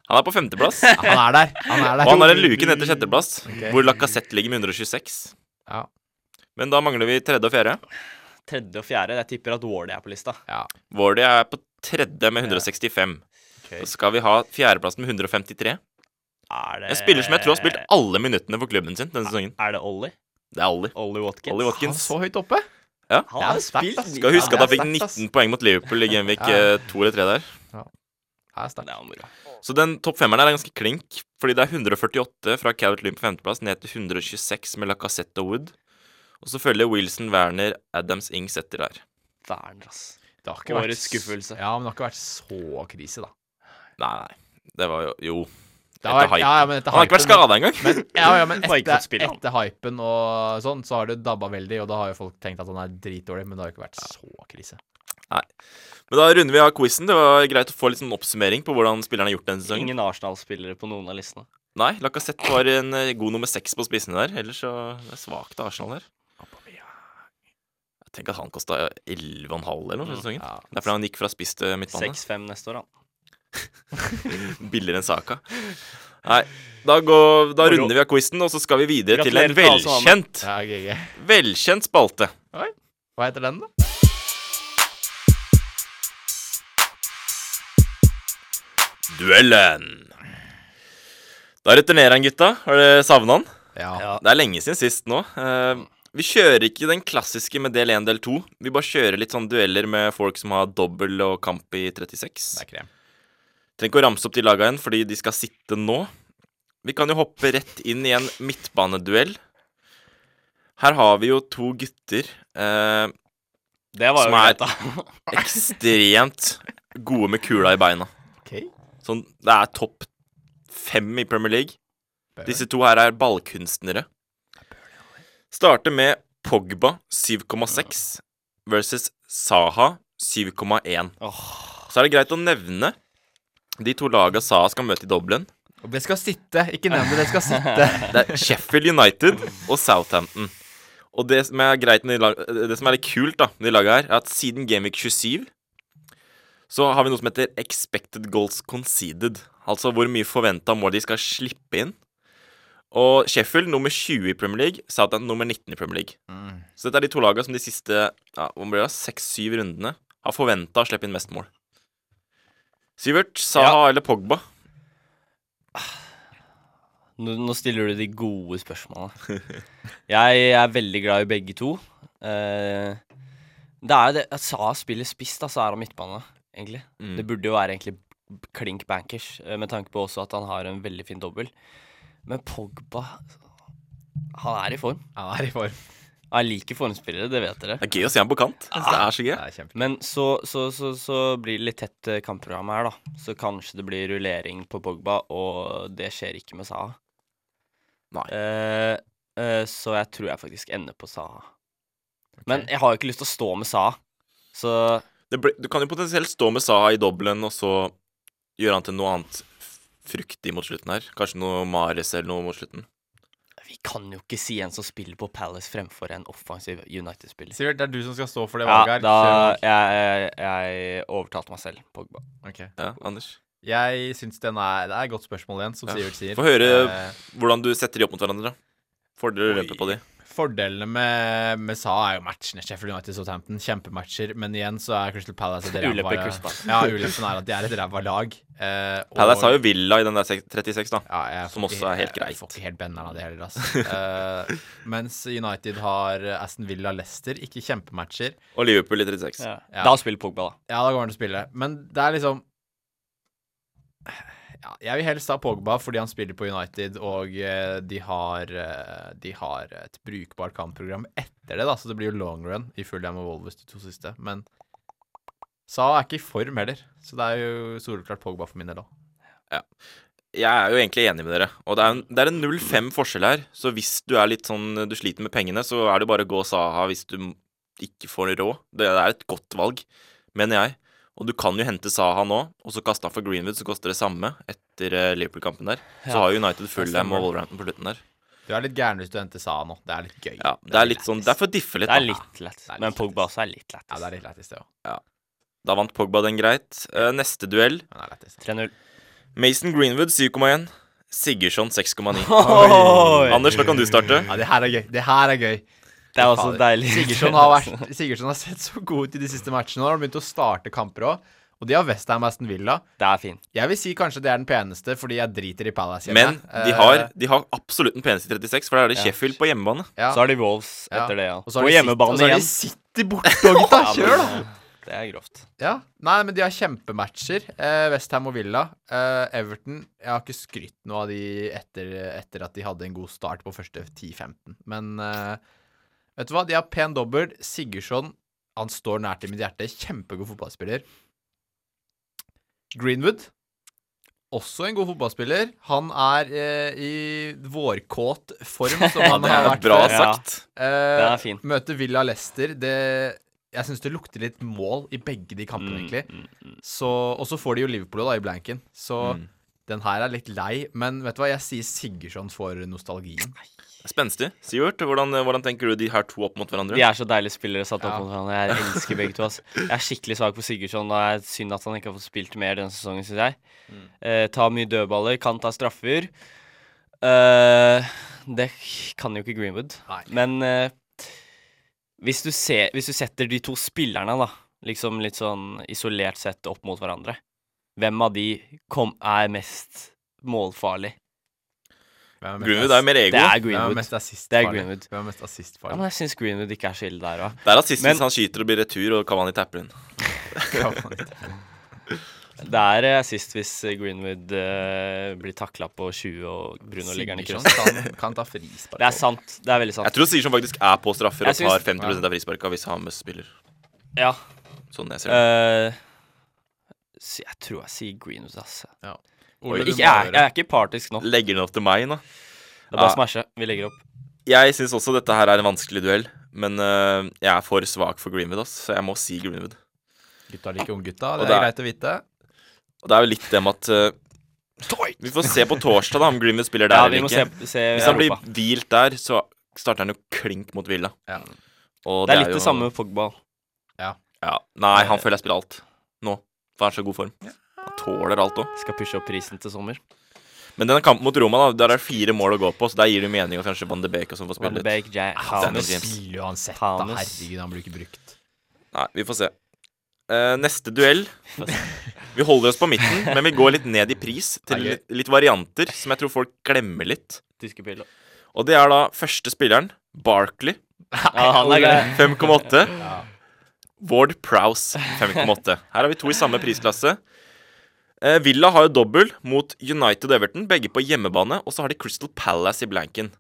G: Han er på femteplass.
E: Han er der! Han er
G: Og
E: der.
G: han er en luke ned til sjetteplass,
E: Ok.
G: hvor Lacassette ligger med 126.
E: Ja.
G: Men da mangler vi tredje og fjerde.
F: Tredje og fjerde. Jeg tipper at Wardy er på lista.
E: ja.
G: Wardy er på tredje med 165.
F: Ok.
G: Så skal vi ha fjerdeplassen med 153.
F: Er det eh,
G: En spiller som jeg tror har spilt
E: Eh.
G: alle minuttene for klubben sin denne sesongen.
F: Er det Ollie?
G: Det er Ollie.
F: Ollie Watkins?
G: Ollie
E: Han
G: Watkins.
E: så høyt oppe.
F: Han
E: Det er
F: har jo
E: sterkt,
F: spilt
E: ass.
G: Skal huske at han fikk
E: Ja, det er sterkt, ass.
G: 19 poeng mot Liverpool i Genvik
E: Ja.
G: 2 eller 3 der.
E: Det er
F: Det
E: sterkt.
F: er moro.
G: Så den topp femmeren er ganske klink, fordi det er 148 fra Calvert Lynn på femteplass ned til 126 med Lacassette og Wood. Og så følger Wilson, Werner, Adams, Ings etter der.
F: Werner, ass.
E: Det har
F: Årets skuffelse.
E: Ja, men det har ikke vært så krise, da.
G: Nei, nei. Det var jo Jo.
E: Det har
G: Etter
E: vært, ja, ja, men etter
G: Han har ikke vært
E: hypen-
G: skada engang.
E: Ja, ja, men
F: Bare ikke fått
E: etter,
F: spille, han.
E: etter hypen og sånn, så har det dabba veldig, og da har jo folk tenkt at han er dritdårlig, men det har jo ikke vært så krise.
G: Men da runder vi av quizen. Det var greit å få litt sånn oppsummering på hvordan spillerne har gjort denne sesongen.
F: Ingen Arsenal-spillere på noen av listene.
G: Nei, Lacassette var en eh, god nummer seks på spissene der. Ellers så det er svakt av Arsenal der. Jeg tenker at han kosta 11,5 eller noe for sesongen.
E: Ja.
G: Det er fordi han gikk fra spiss til midtbane.
F: 6-5 neste år, han.
G: Billigere enn Saka. Nei, da, går, da
F: Moro.
G: runder vi av quizen, og så skal vi videre til en
F: Gratulerer til alle som var
G: velkjent,
E: Ja, GG.
G: velkjent spalte.
E: Hva heter den, da?
G: Duellen. Da returnerer han, gutta. Har dere savna han?
E: Ja.
G: Det er lenge siden sist nå. Eh, vi kjører ikke den klassiske med del 1, del 2. Vi bare kjører litt sånn dueller med folk som har dobbel og kamp i 36.
E: Det er krem.
G: Trenger ikke å ramse opp de laga igjen, fordi de skal sitte nå. Vi kan jo hoppe rett inn i en midtbaneduell. Her har vi jo to gutter eh,
F: Det var
G: Som
F: jo
G: er-
F: greit, da.
G: ekstremt gode med kula i beina.
E: OK.
G: Sånn, det er topp fem i Premier League. Disse to her er ballkunstnere. Starter med Pogba 7,6 versus Saha 7,1. Så er det greit å nevne de to laga Saha skal møte i dobbelen.
E: Det skal sitte. Ikke nevn det, det skal sitte.
G: Det er Sheffield United og Southampton. Og det som er greit med de lag, Det som er litt kult da med de laga her, er at siden Gameweek 27 så har vi noe som heter expected goals conceded. Altså hvor mye forventa mål de skal slippe inn. Og Sheffield nummer 20 i Premier League, Southampton nummer 19 i Premier League. Så dette er de to lagene som de siste ja, hvor blir det, seks-syv rundene har forventa å slippe inn mest mål. Sivert, Saha eller Pogba?
F: Nå, nå stiller du de gode spørsmålene. Jeg er veldig glad i begge to. Eh, det er jo det at Saha spiller spiss, da, så er han midtbane, egentlig. Det burde jo være egentlig b- klink bankers, eh, med tanke på også at han har en veldig fin dobbel. Men Pogba Han er i form.
E: Han er i form.
F: Han liker formspillere, det vet dere.
G: Det er gøy å se ham på kant. Det er så gøy.
E: Det er kjempe.
F: Men så, så, så, så blir det litt tett eh, kampprogram her, da. Så kanskje det blir rullering på Pogba, og det skjer ikke med Saha.
G: Nei.
F: Eh, eh, så jeg tror jeg faktisk ender på Saha. Men jeg har jo ikke lyst til å stå med Saha, så
G: det ble, Du kan jo potensielt stå med Saha i dobbelen Og så gjøre han til noe annet f- Fruktig mot slutten her Kanskje noe Mares eller noe mot slutten
F: vi kan jo ikke si en som spiller på Palace fremfor en offensiv United-spiller.
E: Sivert, det er du som skal stå for det
F: Ja,
E: valget
F: da
E: her. Kjør valg.
F: jeg, jeg overtalte meg selv, Pogba.
E: Ok.
G: Ja, Anders
E: Jeg syns den er Det er et godt spørsmål igjen, som
G: Ja.
E: Sivert sier.
G: Få høre-
E: Eh,
G: Hvordan du setter de opp mot hverandre Fordeler og ulemper på de
E: Fordelene med, med SA er jo matchene. Sheffield United Southampton, kjempematcher. Men igjen så er Crystal Palace et
F: Ulempe
E: ræva
F: Crystal Palace.
E: Ja, ulempen er at de er et ræva lag. Eh, og-
G: Palace har jo Villa i den der sek- 36 da
E: ja, jeg får
G: som
E: ikke-
G: også er helt greit.
E: Jeg får ikke helt benderen av det heller, altså. Eh, mens United har Aston Villa Leicester, ikke kjempematcher.
G: Og Liverpool i 36
E: Ja.
F: Da spiller Pogba, da.
E: Ja, da går han til å spille. Men det er liksom ja, Jeg vil helst ha Pogba fordi han spiller på United, og eh, de har, eh, de har et brukbart kampprogram etter det, da, så det blir jo long run i Fulham og Wolves de to siste. Men Sa er ikke i form heller, så det er jo soleklart Pogba for min del òg.
G: Jeg er jo egentlig enig med dere Og det er en, det er en 0-5 forskjell her Så hvis du er litt sånn Du sliter med pengene Så er det bare å gå Saha Hvis du m- ikke får råd Det er et godt valg Mener jeg Og du kan jo hente Saha nå Og så kaste han for Greenwood Så koster det samme Etter eh, Liverpool-kampen der Så
F: Ja.
G: har jo United Fulham
F: stemmer.
G: og Wolverhampton på slutten der
E: Du er litt gæren hvis du henter Sa nå. Det er litt gøy.
G: Ja, det er litt sånn Det er for å diffe litt.
F: Det er
G: da.
F: litt lett.
E: er litt
F: Men
E: lett.
F: Pogba også er litt lett.
E: Ja, det er litt lættis, det òg.
G: Da vant Pogba den greit. Eh, neste duell.
E: Men det er lættis.
F: 3-0.
G: Mason Greenwood 7,1. Sigurdsson 6,9.
F: Oi.
G: Anders, nå kan du starte.
E: Ja, det her er gøy. Det her er gøy.
F: Det er også deilig.
E: Sigurdsson har, vært, Sigurdsson har sett så god ut i de siste matchene. Nå har han begynt å starte kamper òg. Og de har Westham Aston Villa.
F: Det er fint.
E: Jeg vil si kanskje det er den peneste, fordi jeg driter i Palace. hjemme.
G: Men de har, de har absolutt den peneste i 36, for da er det
F: eh, Ja.
G: Sheffield på hjemmebane.
E: Eh, ja.
F: Så har de Wolves
E: Ja.
F: etter det, ja.
E: Og så har
F: På
E: de City- og
F: hjemmebane
E: så har de
F: igjen.
E: City borte òg, gutta. Kjør, da.
F: Det er grovt.
E: Ja. Nei, men de har kjempematcher. Eh, Westham og Villa. Eh, Everton Jeg har ikke skrytt noe av de etter, etter at de hadde en god start på første 10-15, men eh, vet du hva? De har pen dobbel. Sigurdsson han står nært i mitt hjerte. Kjempegod fotballspiller. Greenwood også en god fotballspiller. Han er eh, i vårkåt form, som
G: Ja,
E: han
G: det
E: har
G: er
E: vært
G: bra
E: før.
F: Ja.
G: sagt.
E: Eh,
F: Den er fin.
E: Møte Villa Leicester. Det, jeg syns det lukter litt mål i begge de
F: Mm,
E: kampene, egentlig. Så, og så får de jo Liverpool da, i blanken. Så den her er litt lei. Men vet du hva, jeg sier Sigurdsson for nostalgien.
G: Spenstig. Sivert, hvordan, hvordan tenker du de her to opp mot hverandre?
F: De er så deilige spillere satt opp
E: Ja.
F: mot hverandre. Jeg elsker begge to. ass. Jeg er skikkelig svak på Sigurdsson. og jeg Synd at han ikke har fått spilt mer denne sesongen, syns jeg.
E: Mm.
F: Eh, ta mye dødballer, kan ta straffer. Eh, det kan jo ikke Greenwood.
E: Nei.
F: Men eh, hvis, du ser, hvis du setter de to spillerne, da, liksom litt sånn isolert sett opp mot hverandre, hvem av de kom, er mest målfarlig?
E: Hvem mest
G: Greenwood er
E: ass-
G: mer
F: Det
G: ego.
F: er
E: Hvem er
F: Greenwood.
E: mest assistfarlig?
F: Det er Greenwood.
E: Hvem er mest assistfarlig?
F: Ja, men jeg syns Greenwood ikke er så ille der òg.
G: Det er rasistisk
F: Men-
G: hvis han skyter og blir retur, og Kavani tapper inn.
F: Det er eh, sist hvis eh, Greenwood eh, blir takla på 20 og Bruno ligger den i kryss.
E: Sigurdsson kan, kan ta frispark.
F: Det er sant. Det er
G: Jeg
F: veldig sant.
G: tror Sigurdsson faktisk er på straffer og
F: Jeg syns-
G: tar 50 av frisparka hvis Hames spiller.
F: Ja.
G: Sånn jeg ser det.
F: eh, så jeg tror jeg sier Greenwood, altså.
E: Ole, du må
F: Ikke, jeg, er-
E: gjøre.
F: jeg er ikke partisk nå. Det
G: Legger den opp til meg, nå.
F: er bare
G: Ja.
F: å smashe. Vi legger opp.
G: Jeg syns også dette her er en vanskelig duell, men øh, jeg er for svak for Greenwood, ass, så jeg må si Greenwood.
E: Gutta liker unggutta. Det
G: det
E: er
G: er-
E: greit å vite.
G: Og det er jo litt det med at øh, Vi får se på torsdag da om Greenwood spiller der
F: Ja, vi
G: eller
F: må se,
G: ikke.
F: se
G: Hvis han blir
F: Europa.
G: hvilt der, så starter han jo klink mot Villa.
E: Ja.
G: Og
F: Det er litt
G: jo-
F: det samme Eh, med Pogba.
G: Ja. Nei, han føler jeg spiller alt nå. For han er så god form. Han tåler alt òg.
F: Skal pushe opp prisen til sommer.
G: Men denne kampen mot Roma, da, der er det fire mål å gå på, så der gir det mening at kanskje Van de Beek og sånn får
F: Van
G: spille litt.
F: de Beek, Ja-
G: Ah, Daniel
E: Han
F: James.
G: James.
E: spiller uansett, da.
F: Fanes.
E: Herregud, han blir ikke brukt.
G: Nei, vi får se. Eh, neste duell Vi holder oss på midten, men vi går litt ned i pris til
E: Det er
G: litt, litt varianter som jeg tror folk glemmer litt.
F: Tyske piller.
G: Og det er da første spilleren, Barkley.
F: Ja, han er grei.
G: 5,8. Ward Prowse 5,8. Her har vi to i samme prisklasse. Eh, Villa har jo dobbel mot United og Everton, begge på hjemmebane. Og så har de Crystal Palace i blanken.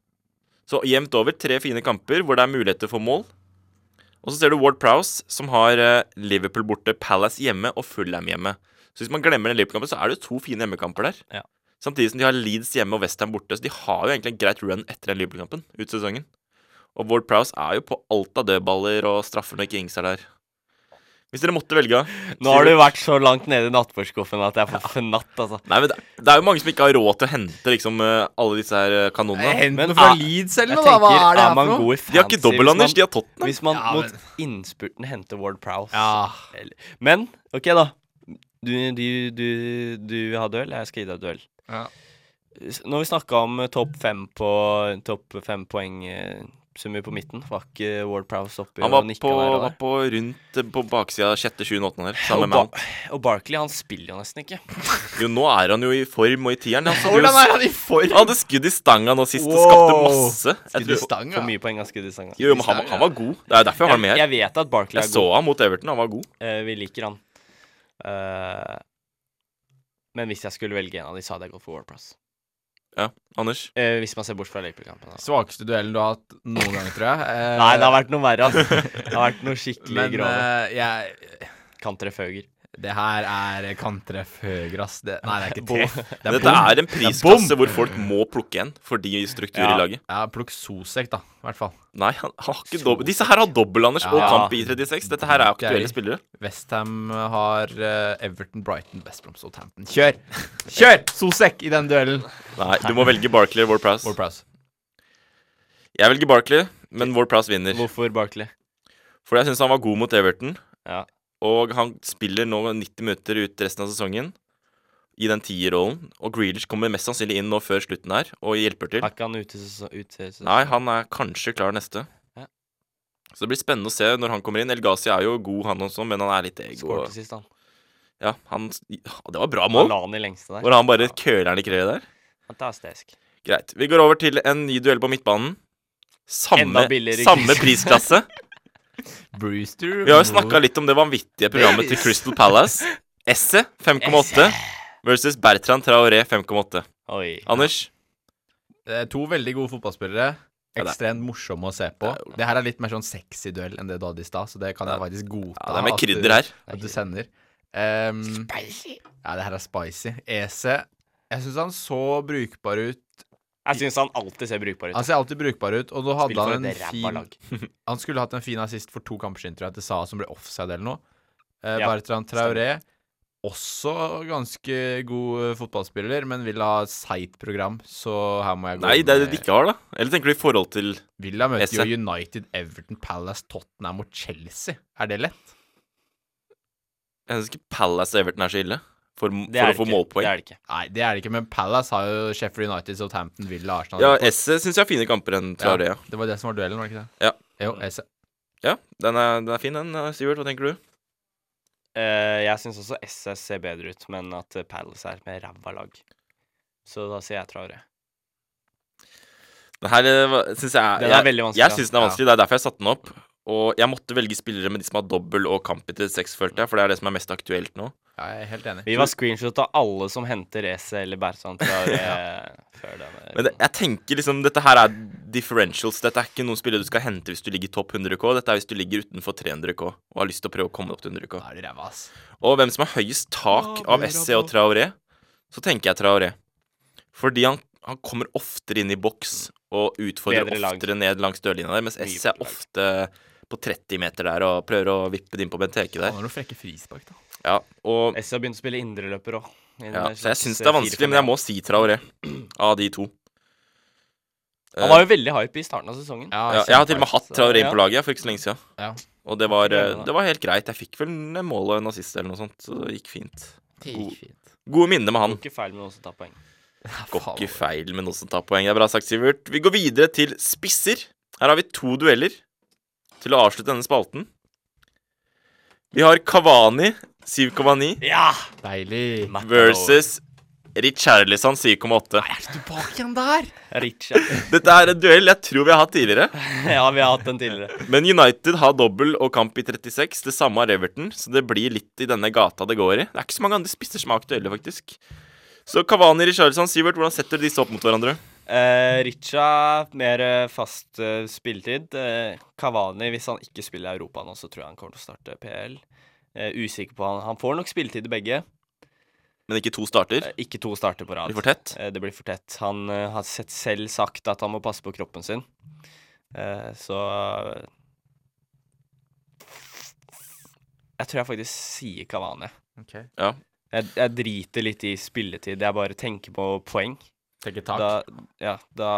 G: Så jevnt over tre fine kamper hvor det er muligheter for mål. Og så ser du Ward Prowse, som har eh, Liverpool borte, Palace hjemme og Fulham hjemme. Så hvis man glemmer den Liverpool-kampen, så er det jo to fine hjemmekamper der.
F: Ja.
G: Samtidig som de har Leeds hjemme og Westham borte, så de har jo egentlig en greit run etter den Liverpool-kampen ut sesongen. Og Ward Prowse er jo på alt av dødballer og straffer når ikke Ings er der. Hvis dere måtte velge
F: Nå har du vært så langt nede i nattbordskuffen at jeg får fnatt, altså.
G: Nei, men det, det er jo mange som ikke har råd til å hente liksom, eh, alle disse her eh, kanonene.
E: Hent
F: Men
E: den fra
F: er-
E: Leeds eller
F: Jeg
E: noe, da. Hva er det her
F: man
E: for noe?
F: god i
G: De har ikke
F: fantasy
G: dobbel-Anders,
F: hvis
G: de
F: man-
G: har Tottenham.
F: Hvis man
E: Ja,
F: mot innspurten henter Ward Prowse
E: Ja.
F: eller- Men OK, da. Du, du, du, du har duell, jeg skal gi deg duell.
E: Ja.
F: S- Når vi snakka om eh, topp fem på Topp fem poeng eh, summer på midten, var ikke Ward Prowse oppi
G: Han var
F: og nikka
G: på,
F: der og
G: var
F: der?
G: på rundt eh, på baksida av sjette, sjuende, åttende der.
F: Og,
G: Sammen med
F: ba
G: Mount.
F: og Barkley, han spiller jo nesten ikke.
G: Jo, nå er han jo i form og i tieren. Han skulle jo
E: Hvordan er han i form?
G: Han hadde skudd i stanga nå sist og
E: Wow.
G: skapte masse. Jeg
E: Skudd i
G: tror,
E: stang,
F: For
E: ja.
F: mye poeng han skulle i stanga.
G: jo, jo, men han, han var god. Det er derfor jeg har ham med
F: Jeg,
G: her.
F: jeg vet at Barkley
G: Jeg
F: er
G: så
F: god.
G: ham mot Everton, han var god.
F: Eh, vi liker han. Eh, men hvis jeg skulle velge en av de, så hadde jeg gått for Ward Prowse.
G: Ja, Anders.
F: Eh, hvis man ser bort fra Liverpool-kampen. da.
E: Svakeste duellen du har hatt noen gang, tror jeg. Eh,
F: Nei, det har vært noe verre. ass. Det har vært noe skikkelig
E: Men
F: grove.
E: eh, jeg,
F: Kantreføger.
E: det her er kanttreff høyre, ass. Det, nei, det er ikke treff. Det
G: Dette
E: bom.
G: er en priskasse hvor folk må plukke en fordi struktur
F: Ja.
G: i laget.
E: Ja, plukk Sosek, da. I hvert fall.
G: Nei, han, han har ikke dobbel. Disse her har dobbel, Anders, og
E: Ja.
G: kamp i 36. Dette her er aktuelle
E: Gøy.
G: spillere.
E: Westham har eh, Everton, Brighton, West Brom, Southampton. Kjør! Kjør! Sosek i den duellen.
G: Nei, du må velge Barkley eller Ward Prowse.
E: Ward Prowse.
G: Jeg velger Barkley, men Ward Prowse vinner.
F: Hvorfor Barkley?
G: For jeg syns han var god mot Everton,
F: Ja.
G: og han spiller nå 90 minutter ut resten av sesongen. I den tierrollen. Og Grealish kommer mest sannsynlig inn nå før slutten her og hjelper til.
F: Er ikke han ute så ute, så-
G: Nei, han er kanskje klar neste.
F: Ja.
G: Så det blir spennende å se når han kommer inn. El Ghazi er jo god, han også, men han er litt ego.
F: Skåret sist, han.
G: Ja, han, ah, det var bra
F: Han
G: mål,
F: la han i lengste der.
G: hvor han bare køler den i kreet der.
F: Fantastisk.
G: Greit. Vi går over til en ny duell på midtbanen. Samme,
F: Enda billigere
G: samme
F: kurs.
G: prisklasse.
E: Brewster
G: Vi har jo snakka litt om det vanvittige programmet til Crystal Palace. Esse 5,8 versus Bertrand Traoré 5,8.
F: Oi.
G: Anders?
E: Eh, To veldig gode fotballspillere.
G: Ja, det-
E: Ekstremt morsomme å se på.
G: Det er jo-
E: Det her er litt mer sånn sexy duell enn det du hadde i stad, så det kan jeg
G: Ja.
E: faktisk godta.
G: Ja, det er med
E: at du-
G: krydder her.
E: At du sender. Ehm, ja, det her er spicy. EC Jeg syns han så brukbar ut.
F: Jeg syns han alltid ser brukbar ut.
E: Han ser alltid brukbar ut, og nå hadde
F: Spiller for
E: han en
F: et ræva
E: fin
F: lag.
E: Han skulle hatt en fin assist for to kamper siden, tror jeg, til Saha som ble offside eller noe. Eh,
F: Ja,
E: Bertrand Traoré, også ganske god eh, fotballspiller, men vil ha et seigt program, så her må jeg gå
G: Nei, det er det
E: med-
G: E de ikke har, da. Eller tenker du i forhold til
E: Villa møter jo
G: Esse.
E: United, Everton, Palace, Tottenham og Chelsea. Er det lett?
G: Jeg syns ikke Palace og Everton er så ille for,
F: Det er
G: for å få
F: det ikke. Det
G: målpoeng.
F: er det ikke.
E: Nei, det er det ikke, men Palace har jo Sheffield United, Southampton, Villa, Arsenal.
G: Ja, Esse syns jeg har fine kamper enn Traoré.
E: Ja, det var det som var duellen, var det ikke det?
G: Ja.
E: Jo, Esse.
G: Ja, den er, den er fin, den. eh, Sivert, hva tenker du?
F: Eh, jeg syns også SS ser bedre ut, men at eh, Palace er med ræva lag. Så da sier jeg Traoré.
G: Den her syns jeg
F: Den er
G: jeg-
F: veldig vanskelig,
G: Jeg
F: ja.
G: syns den er vanskelig. Det er derfor jeg satte den opp. Og jeg måtte velge spillere med de som har dobbel og kamp i 36, følte jeg. For det er det som er mest aktuelt nå.
E: Ja, jeg er helt enig.
F: Vi var screenshot av alle som henter Ese eller Bertrand Traoré før eh, denne.
G: Men det, jeg tenker liksom Dette her er differentials. Dette er ikke noen spillere du skal hente hvis du ligger i topp 100K. Dette er hvis du ligger utenfor 300K og har lyst til å prøve å komme opp til 100K.
E: Da er du ræva, ass.
G: Og hvem som har høyest tak av SC og Traoré, så tenker jeg Traoré. Fordi han, han kommer oftere inn i boks og utfordrer
F: Bedre lag.
G: oftere ned langs dørlinja der, mens
F: Mye
G: SC er
F: bedre lag.
G: ofte på 30 meter der og prøver å vippe det inn på Benteke
E: Han
G: der.
E: har noen frekke frispark, da.
G: Ja, og,
F: Esse har begynt å spille indreløper òg. eh,
G: ja, så jeg syns det er vanskelig, men jeg må si Traoré av de to.
F: Han var jo veldig hype i starten av sesongen.
E: Ja,
G: Ja, jeg har til og med hatt Traoré inn på
F: Ja.
G: laget for ikke så lenge siden.
E: Ja.
G: Og det var, eh,
F: Ja, ja.
G: det var helt greit. Jeg fikk vel mål og en assist eller noe sånt, så det gikk fint.
E: Det gikk fint.
G: Gode minner med han.
F: Ikke feil med noen som tar poeng.
G: Går ikke feil med noen som tar poeng. Det er bra sagt, Sivert. Vi går videre til spisser. Her har vi to dueller til å avslutte denne spalten. Vi har Kavani 7,9
F: Ja!
E: Deilig.
G: versus Richarlison 7,8.
E: Bak igjen der!
F: Richard.
G: Dette er en duell jeg tror vi har hatt tidligere.
F: ja, vi har hatt den tidligere.
G: Men United har dobbel og kamp i 36. Det samme har Everton, så det blir litt i denne gata det går i. Det er ikke så mange andre spisser som er aktuelle, faktisk. Så Kavani, Richarlison, Sivert, hvordan setter du disse opp mot hverandre?
F: Eh, Richa, mer eh, fast eh, spilletid. Eh, Kavani, hvis han ikke spiller i Europa nå, så tror jeg han kommer til å starte PL. Eh, usikker på han. Han får nok spilletid i begge.
G: Men ikke to starter.
F: Eh, ikke to starter på rad.
G: Blir for tett.
F: Eh, det blir for tett. Han eh, har sett selv sagt at han må passe på kroppen sin. Eh, så Jeg tror jeg faktisk sier Kavani.
G: Ja.
F: Jeg, jeg driter litt i spilletid. Jeg bare tenker på poeng.
E: Tenker tak.
F: Da, ja, da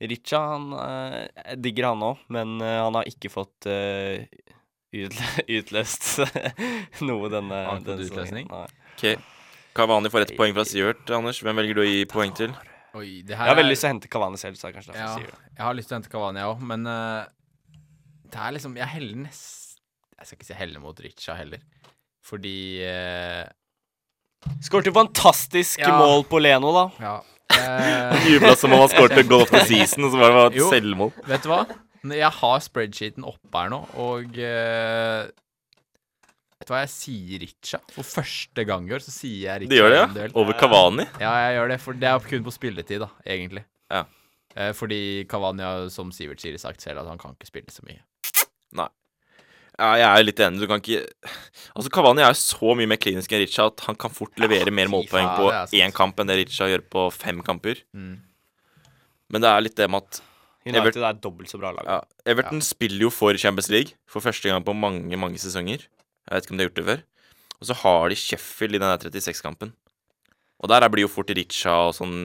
F: Richa, han eh, jeg digger han òg, men eh, han har ikke fått eh, utlø utløst noe denne,
E: Har han ikke fått
F: denne sesongen.
E: utløsning?
F: Nei.
G: Ok. Kavani får ett poeng fra Sivert. Anders, hvem velger du å gi poeng til?
E: Oi, det
F: Jeg
E: her
F: har veldig
E: er-
F: lyst til å hente Kavani selv, så det er kanskje derfor
E: Eh, Ja,
F: jeg sier det.
E: jeg har lyst til å hente Cavani, jeg òg, men eh, det er liksom Jeg heller nest... Jeg skal ikke si heller mot Richa heller, fordi eh,
F: Skåret jo fantastisk
E: Ja.
F: mål på Leno, da.
E: Ja. eh,
G: Jubla som om han skåret et goal of the season, og så var det bare
E: Jo.
G: et selvmål.
E: vet du hva? N- Jeg har spreadsheeten oppe her nå, og eh, Vet du hva, jeg sier Richa. For første gang i år så sier jeg Richa.
G: De gjør det,
E: i en
G: ja?
E: duell.
G: Over Kavani?
E: Ja, jeg gjør det, for det er kun på spilletid, da, egentlig.
G: Ja.
E: Eh, fordi Cavani har, som Sivert sier, sagt selv at han kan ikke spille så mye.
G: Ja, jeg er jo litt enig. Du kan ikke Altså, Kavani er jo så mye mer klinisk enn Richa at han kan fort levere mer
E: fy
G: målpoeng
E: faen,
G: på
E: det er sant.
G: én kamp enn det Richa gjør på fem kamper.
E: Mm.
G: Men det er litt det med at
F: United er et dobbelt så bra lag.
G: ja, Everton spiller jo for Champions League for første gang på mange, mange sesonger. Jeg vet ikke om de har gjort det før. Og så har de Sheffield i den der 36-kampen. Og der er- blir jo fort Richa og sånn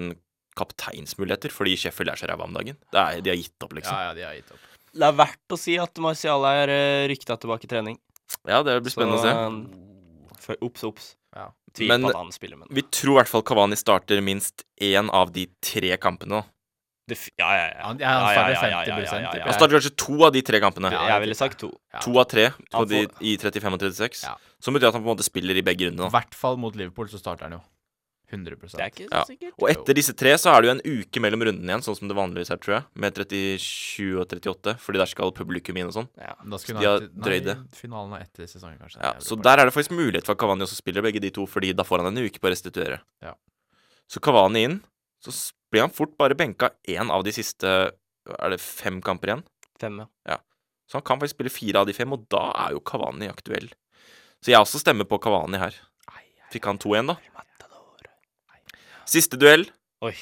G: kapteinsmuligheter, fordi Sheffield er så ræva om dagen. Det er, de har gitt opp, liksom.
E: Ja,
G: Ja,
E: ja, de har gitt opp.
F: Det er verdt å si at Martial er uh, rykta tilbake i trening.
G: det blir spennende å se.
F: å se. Ops, ops.
E: Ja.
F: Tviler
G: Men-
F: på at han spiller, men
G: Vi tror i hvert fall Kavani starter minst én av de tre kampene. da.
F: det, f- Ja, ja, ja.
E: Han- ja, han starter 50%
G: Han
F: liksom.
E: Ja.
G: starter kanskje to av de tre kampene.
E: Ja.
F: Jeg ville sagt to.
E: Ja.
G: To av tre på
F: Han
G: de,
F: får-
G: i 35 og 36.
E: Ja.
G: Som betyr at han på en måte spiller i begge rundene.
E: I
G: da.
E: hvert fall mot Liverpool så starter han jo. 100
F: Det er ikke
G: Ja.
F: så sikkert.
G: Og etter disse tre så er det jo en uke mellom rundene igjen, sånn som det vanligvis er, tror jeg. Med 37 og 38, fordi der skal publikum inn og sånn.
F: Ja.
E: Da skulle
G: Så de har
E: United-
G: drøyd
E: nei,
G: det.
E: Finalen er etter sesongen, kanskje.
G: Ja,
E: Det er
G: så
E: Liverpool.
G: der er det faktisk mulighet for at Kavani også spiller begge de to, fordi da får han en uke på å restituere.
E: Ja.
G: Så Kavani inn, så s- blir han fort bare benka én av de siste Er det fem kamper igjen?
F: Fem, ja.
G: Så han kan faktisk spille fire av de fem, og da er jo Kavani aktuell. Så jeg også stemmer på Kavani her. Fikk han 2-1, da. Siste duell.
F: Oi.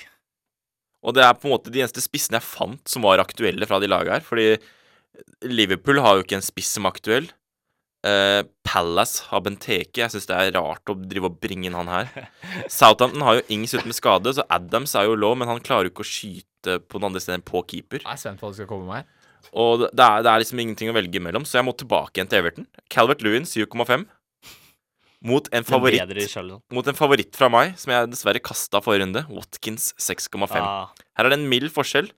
G: Og det er på en måte de eneste spissene jeg fant som var aktuelle fra de laga her. Fordi Liverpool har jo ikke en spiss som er aktuell. Eh, Palace har Benteke. Jeg syns det er rart å drive og bringe inn han her. Southampton har jo Ings ute med skade, så Adams er jo low, men han klarer jo ikke å skyte på noen andre steder enn på keeper.
E: Jeg er spent på hva det skal komme med her.
G: Og det det er, det er liksom ingenting å velge mellom, så jeg må tilbake igjen til Everton. Calvert Lewin 7,5 mot en
F: Den bedre i
G: favoritt
F: Charlton.
G: mot en favoritt fra meg, som jeg dessverre kasta forrige runde. Watkins 6,5.
F: Ah,
G: Her er det en mild forskjell.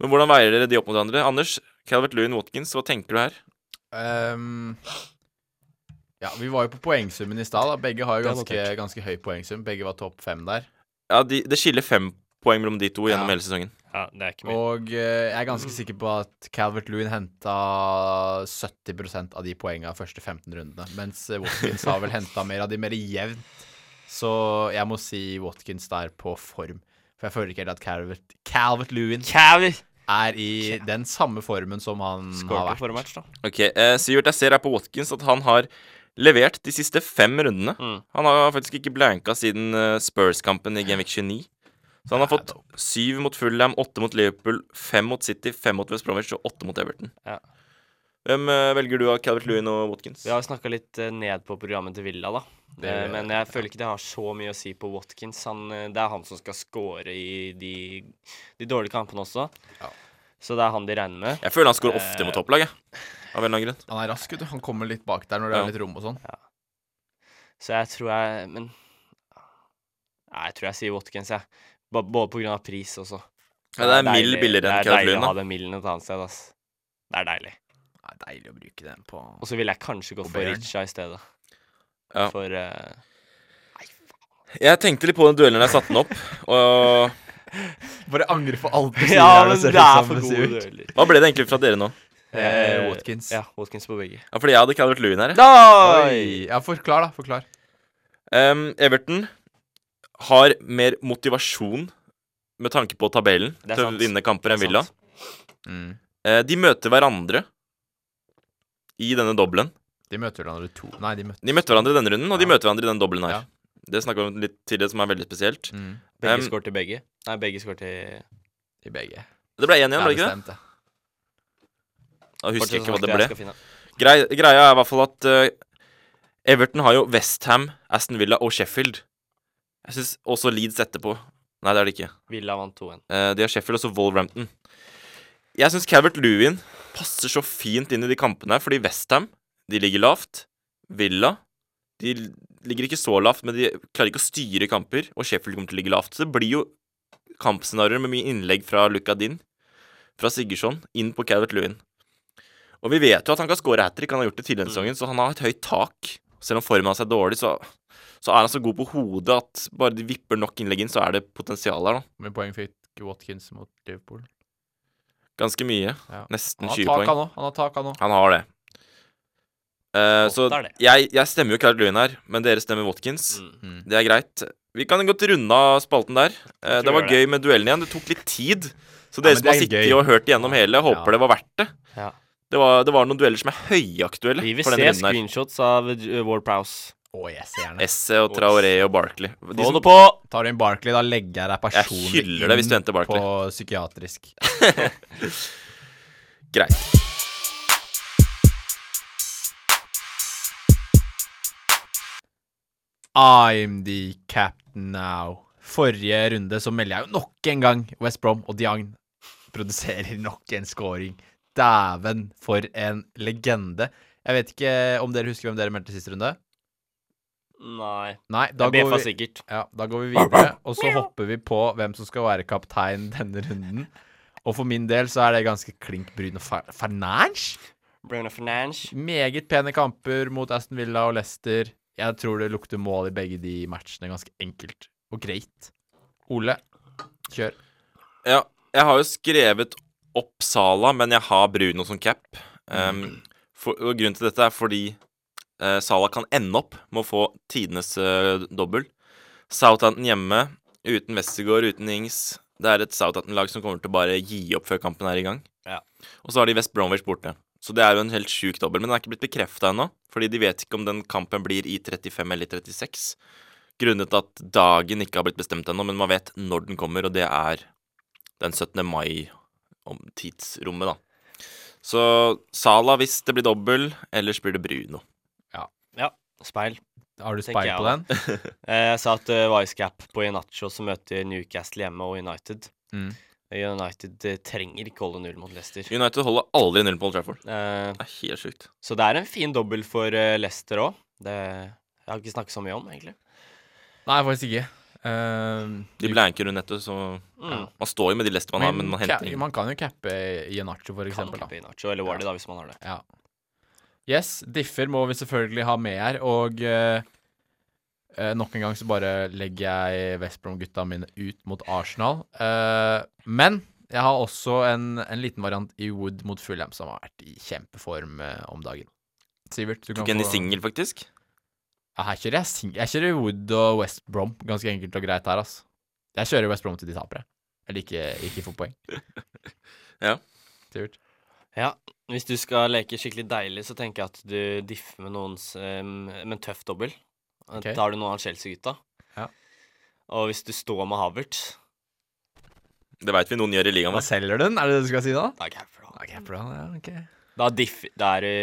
G: Men hvordan veier dere de opp mot hverandre? Anders, Calvert Lewin Watkins, hva tenker du her?
E: Ehm, ja, vi var jo på poengsummen i stad. da. Begge har jo
F: Det er
E: ganske, ganske høy poengsum. Begge var topp fem der.
G: Ja, de, Det skiller fem poeng mellom de to gjennom
E: Ja.
G: hele sesongen.
F: ja, det er ikke mye.
E: Og eh, jeg er ganske sikker på at Calvert Lewin henta 70 av de poengene første 15 rundene, mens eh, Watkins har vel henta mer av de mer jevnt. Så jeg må si Watkins der på form. For jeg føler ikke helt at Calvert, Calvert Lewin
F: Cavi!
E: er i den samme formen som han har
F: Skårte
E: vært.
F: forrige match, da.
G: Ok, eh, Sivert, jeg ser her på Watkins at han har levert de siste fem rundene.
F: Mm.
G: Han har faktisk ikke blanka siden eh, Spurs-kampen i Genvik 29. Så han har fått syv mot Fulham, åtte mot Liverpool, fem mot City, fem mot West Bromwich og åtte mot Everton.
F: Ja.
G: Hvem eh, velger du av Calvert Lewin og Watkins?
F: Vi har snakka litt eh, ned på programmet til Villa, da. Eh, Men jeg føler ikke det har så mye å si på Watkins. Han, eh, det er han som skal score i de, de dårlige kampene også. Så det er han de regner med.
G: Jeg føler han scorer ofte
F: Eh.
G: mot topplag, jeg. Av en eller annen grunn.
E: Han er rask, vet du. Han kommer litt bak der når det
G: Ja.
E: er litt rom og sånn.
F: Så jeg tror jeg Men Nei, jeg tror jeg sier Watkins, jeg. Ba- Både på grunn av pris også.
G: Ja, det er mild
F: deilig-
G: billigere enn
F: Det er
G: Calvert
F: deilig å
G: Lewin.
F: ha
G: da.
F: den milden et annet sted, ass. Det er deilig.
E: Det er deilig å bruke den på
F: Og så ville jeg kanskje gått
E: Og
F: for
E: Bayern.
F: Richa i stedet.
G: Ja.
F: For eh,
G: Jeg tenkte litt på den duellen jeg satte den opp, og
E: Bare angre for alt du sier.
F: Ja,
E: her,
F: men
E: ser
F: det
E: ut
F: er
E: som,
F: for gode
E: Sivert.
F: dueller.
G: hva ble det egentlig fra dere nå?
E: Eh, Watkins.
F: Ja, Watkins på begge.
G: Ja, fordi jeg hadde Calvert Lewin her. jeg.
E: Oi! Ja, forklar, da. Forklar.
G: Em, Everton har mer motivasjon med tanke på tabellen
F: Det er
G: til å
F: sant.
G: vinne kamper enn
F: Det er
G: Villa.
F: sant.
E: Mm.
G: Eh, De møter hverandre i denne dobbelen.
E: De møter hverandre to Nei, de møter
G: De møtte hverandre i denne runden, og
E: Ja.
G: de møter hverandre i denne dobbelen her.
E: Ja.
G: Det snakka vi om litt tidligere, som er veldig spesielt.
E: mm,
G: Um,
F: Begge skår til begge. Nei, begge skår til
E: i begge.
G: Det ble 1 igjen,
E: Det er
G: var det ikke det?
E: bestemt, det.
G: Jeg husker
F: Fortsett
G: ikke hva
F: å
G: det
F: snakke,
G: ble.
F: jeg skal finne.
G: Grei, greia er i hvert fall at eh, Everton har jo Westham, Aston Villa og Sheffield. Jeg syns også Leeds etterpå. Nei, det er det ikke.
F: Villa vant 2-1.
G: Eh, de har Sheffield og så Wolverhampton. Jeg syns Calvert Lewin passer så fint inn i de kampene, her, fordi Westham de ligger lavt. Villa de l- ligger ikke så lavt, men de klarer ikke å styre kamper, og Sheffield kommer til å ligge lavt. Så det blir jo kampscenarioer med mye innlegg fra Lukadin, fra Sigurdsson, inn på Calvert Lewin. Og vi vet jo at han kan score hat trick, han har gjort det tidligere i sesongen, så han har et høyt tak. Selv om formen hans er dårlig, så, så er han så god på hodet at bare de vipper nok innlegg inn, så er det potensial her, da.
E: Hvor mye poeng fikk Watkins mot Liverpool?
G: Ganske mye.
E: Ja.
G: Nesten
E: Han har
G: 20
E: tak,
G: poeng.
E: han òg. Han har tak, han òg.
G: Han har det. Eh, så
F: er det.
G: jeg, jeg stemmer jo Cloud Lewin her, men dere stemmer Watkins.
E: Mm.
G: Det er greit. Vi kan godt runde av spalten der. Eh, det
F: tror
G: var
F: jeg
G: gøy med duellen igjen. Det tok litt tid. Så
E: Ja,
G: dere
E: men
G: som har
E: det er
G: sittet
E: gøy.
G: og hørt igjennom hele, håper
E: Ja.
G: det var verdt det.
F: Ja.
G: Det var, det var noen dueller som er høyaktuelle
F: Vi vil
G: for
F: se
G: denne runden her.
F: screenshots av eh, Ward Prowse.
E: Å, jeg ser den.
G: Esse og Traoré og Barkley. De
F: Få
G: som,
F: det på!
E: Tar du inn Barkley, da legger jeg deg personlig
G: Jeg hyller deg hvis du
E: inn
G: henter Barkley.
E: på psykiatrisk.
G: greit.
E: I'm the captain now. Forrige runde så melder jeg jo nok en gang West Brom og Diagn produserer nok en scoring. Dæven, for en legende. Jeg vet ikke om dere husker hvem dere meldte siste runde?
F: Nei.
E: Nei, da
F: Jeg
E: går,
F: befa
E: vi,
F: sikkert.
E: ja, da går vi videre, og så hopper vi på hvem som skal være kaptein denne runden. Og for min del så er det ganske klink Bruno Fer- Fernandes.
F: Bruno Fernandes.
E: Meget pene kamper mot Aston Villa og Leicester. Jeg tror det lukter mål i begge de matchene ganske enkelt og greit. Ole, kjør.
G: Ja, jeg har jo skrevet opp Sala, men jeg har Bruno som cap. Um, for, og grunnen til dette er fordi eh, Sala kan ende opp med å få tidenes eh, dobbel. Southampton hjemme, uten Westergård, uten Ings. Det er et Southampton-lag som kommer til å bare gi opp før kampen er i gang.
F: Ja.
G: Og så har de West Bromwich borte. Så det er jo en helt sjuk dobbel, men den er ikke blitt bekrefta ennå. Fordi de vet ikke om den kampen blir i 35 eller 36. Grunnet at dagen ikke har blitt bestemt ennå, men man vet når den kommer, og det er den 17. mai om tidsrommet, da. Så Sala hvis det blir dobbel, ellers blir det Bruno.
F: Speil.
E: Har du
F: Tenker
E: speil
F: jeg
E: på
F: da.
E: den?
F: Eh, Jeg sa at uh, Vicecap på Inacho som møter Newcastle hjemme og United.
E: Mm.
F: United eh, trenger ikke holde null mot Leicester.
G: United holder aldri null på Old Trafford.
F: Eh,
G: Det er helt sjukt.
F: Så det er en fin dobbel for eh, Leicester òg. Det jeg har ikke snakket så mye om, egentlig.
E: Nei, faktisk ikke. Ehm,
G: De blanker jo nettopp, så
F: Mm.
G: Man står jo med de leste man har, men man henter
E: ca-
G: ingen.
E: man kan jo cappe Janacho, for
F: Kan
E: eksempel.
F: cappe
E: Da.
F: Inacho eller Wardy, da, hvis man har det.
E: Ja. Yes, differ må vi selvfølgelig ha med her, og eh, eh, nok en gang så bare legger jeg West Brom-gutta mine ut mot Arsenal. Eh, men jeg har også en, en liten variant i Wood mot Fulham, som har vært i kjempeform eh, om dagen. Sivert, du kan
G: Tok en i
E: få-
G: singel, faktisk.
E: Ja, her kjører jeg sing... Jeg kjører Wood og West Brom. Ganske enkelt og greit her, ass. Jeg kjører West Brom til de taper, jeg. Eller ikke, ikke får poeng.
G: Ja.
E: Sivert.
F: Ja, Hvis du skal leke skikkelig deilig, så tenker jeg at du differ med noens eh, med en tøff dobbel.
E: Ok.
F: Tar du noen av Chelsea-gutta.
E: Ja.
F: Og hvis du står med Havertz
G: Det veit vi noen gjør i ligaen
E: Hva
G: vår.
E: selger du den? Er det det du skal si nå?
F: Da capper du han.
E: Ja, Capron, ja, ok.
F: Da diff, da er du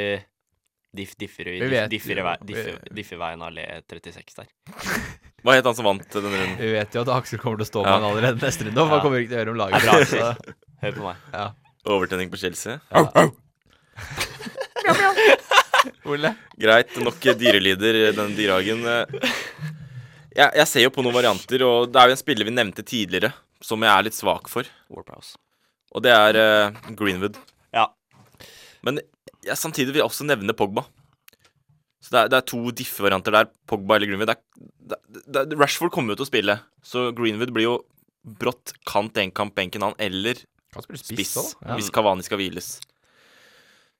F: diff, differ,
E: Vi vet
F: differ,
E: jo,
F: vei-
E: vi-
F: differ, Differveien allé 36 der.
G: Hva het han som vant denne runden?
E: Vi vet jo at Aksel kommer til å stå med
G: Ja.
E: han allerede neste runde. og
F: Ja.
E: Man kommer ikke til å høre om
F: Det er bra,
E: laget.
F: Aksel.
E: så-
F: Hør på meg.
G: Overtenning på Chelsea.
E: Ole?
G: Greit, nok dyrelyder eh, denne dyrehagen. Jeg, jeg ser jo på noen varianter, og det er jo en spiller vi nevnte tidligere, som jeg er litt svak for,
F: Warprouse.
G: og det er eh, Greenwood.
F: Ja.
G: Men jeg samtidig vil jeg også nevne Pogba. Så det er, det er to diffe-varianter der, Pogba eller Greenwood. Det er, det, det, Rashford kommer jo til å spille, så Greenwood blir jo brått kant én kamp, benken han, eller
E: Kan spille
G: spiss,
E: også, da.
G: hvis Kavani skal hviles.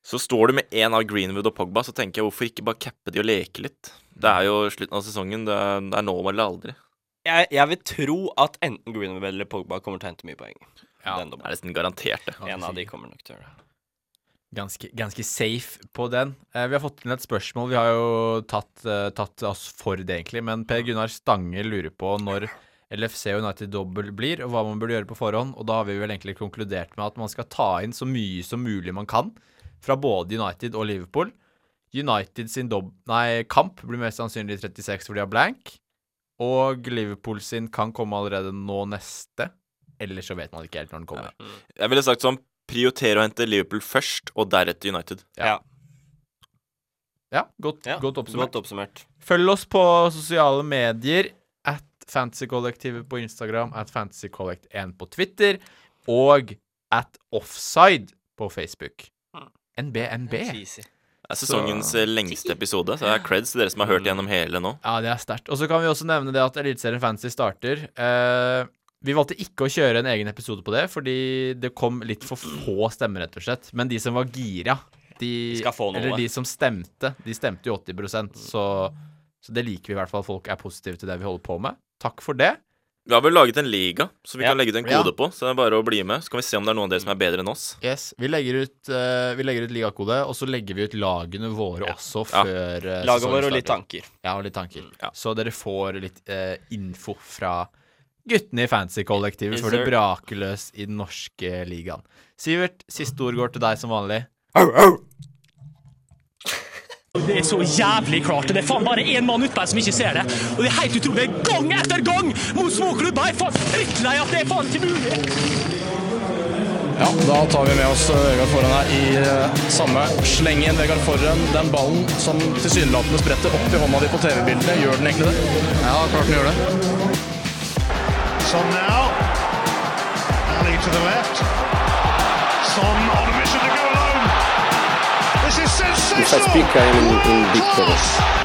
G: Så står du med én av Greenwood og Pogba, så tenker jeg hvorfor ikke bare cappe de og leke litt? Det er jo slutten av sesongen, det er, det er nå eller aldri.
F: Jeg, jeg vil tro at enten Greenwood eller Pogba kommer til å hente mye poeng.
E: Ja.
F: Den
G: Det
F: dommeren.
G: er nesten garantert, det.
F: En av de kommer nok til å gjøre det.
E: ganske, ganske safe på den. Eh, vi har fått inn et spørsmål. Vi har jo tatt, eh, tatt oss for det, egentlig. Men Per Gunnar Stange lurer på når LFC og United Double blir, og hva man burde gjøre på forhånd. Og da har vi vel egentlig konkludert med at man skal ta inn så mye som mulig man kan fra både United og Liverpool. United sin dob nei, kamp blir mest sannsynlig 36 fordi de har blank. Og Liverpool sin kan komme allerede nå neste. Ellers så vet man ikke helt når den kommer.
G: Jeg ville sagt sånn prioritere å hente Liverpool først, og deretter United.
F: Ja.
E: Ja, godt,
F: Ja,
E: godt oppsummert.
F: Godt oppsummert.
E: Følg oss på sosiale medier. At Fantasykollektivet på Instagram. At Fantasykollekt1 på Twitter. Og at Offside på Facebook.
F: Hmm.
E: NBNB.
F: Cheesy.
G: Det er sesongens eh, lengste episode, så det er creds til dere som har hørt gjennom hele nå.
E: Ja, det er sterkt. Og så kan vi også nevne det at Eliteserien Fantasy starter. Eh, vi valgte ikke å kjøre en egen episode på det, fordi det kom litt for få stemmer, rett og slett. Men de som var gira, de,
F: skal få noe.
E: eller de som stemte, de stemte jo 80 så, så det liker vi i hvert fall. Folk er positive til det vi holder på med. Takk for det.
G: Vi har vel laget en liga som vi
F: Ja.
G: kan legge ut en
E: Ja.
G: kode på, så det er bare å bli med. Så kan vi se om det er noen av dere som er bedre enn oss.
E: Yes, Vi legger ut, uh, ut ligakode, og så legger vi ut lagene våre også
G: Ja.
E: før uh,
F: Laget vårt og litt Mm, tanker.
E: Ja, og litt tanker. Så dere får litt eh, info fra guttene i fancy-kollektivet
F: Yes,
E: før det
F: sir.
E: braker løs i den norske ligaen. Sivert, siste ord går til deg som vanlig.
A: Det er så jævlig klart. og Det er faen bare én mann ute her som ikke ser det. Og det er helt utrolig. Gang etter gang mot småklubber. Jeg er faen drittlei at det er faen ikke mulig.
B: Ja, da tar vi med oss eh, Vegard Forhen her i eh, samme slengen. Vegard Forhen, den ballen som tilsynelatende spretter opp i hånda di på TV-bildene, gjør den egentlig det? Ja, klart den gjør det.
C: Son now. Ali to the left. Son on a mission to go alone. This is sensational.
D: If I speak, I am in- in big
C: Class.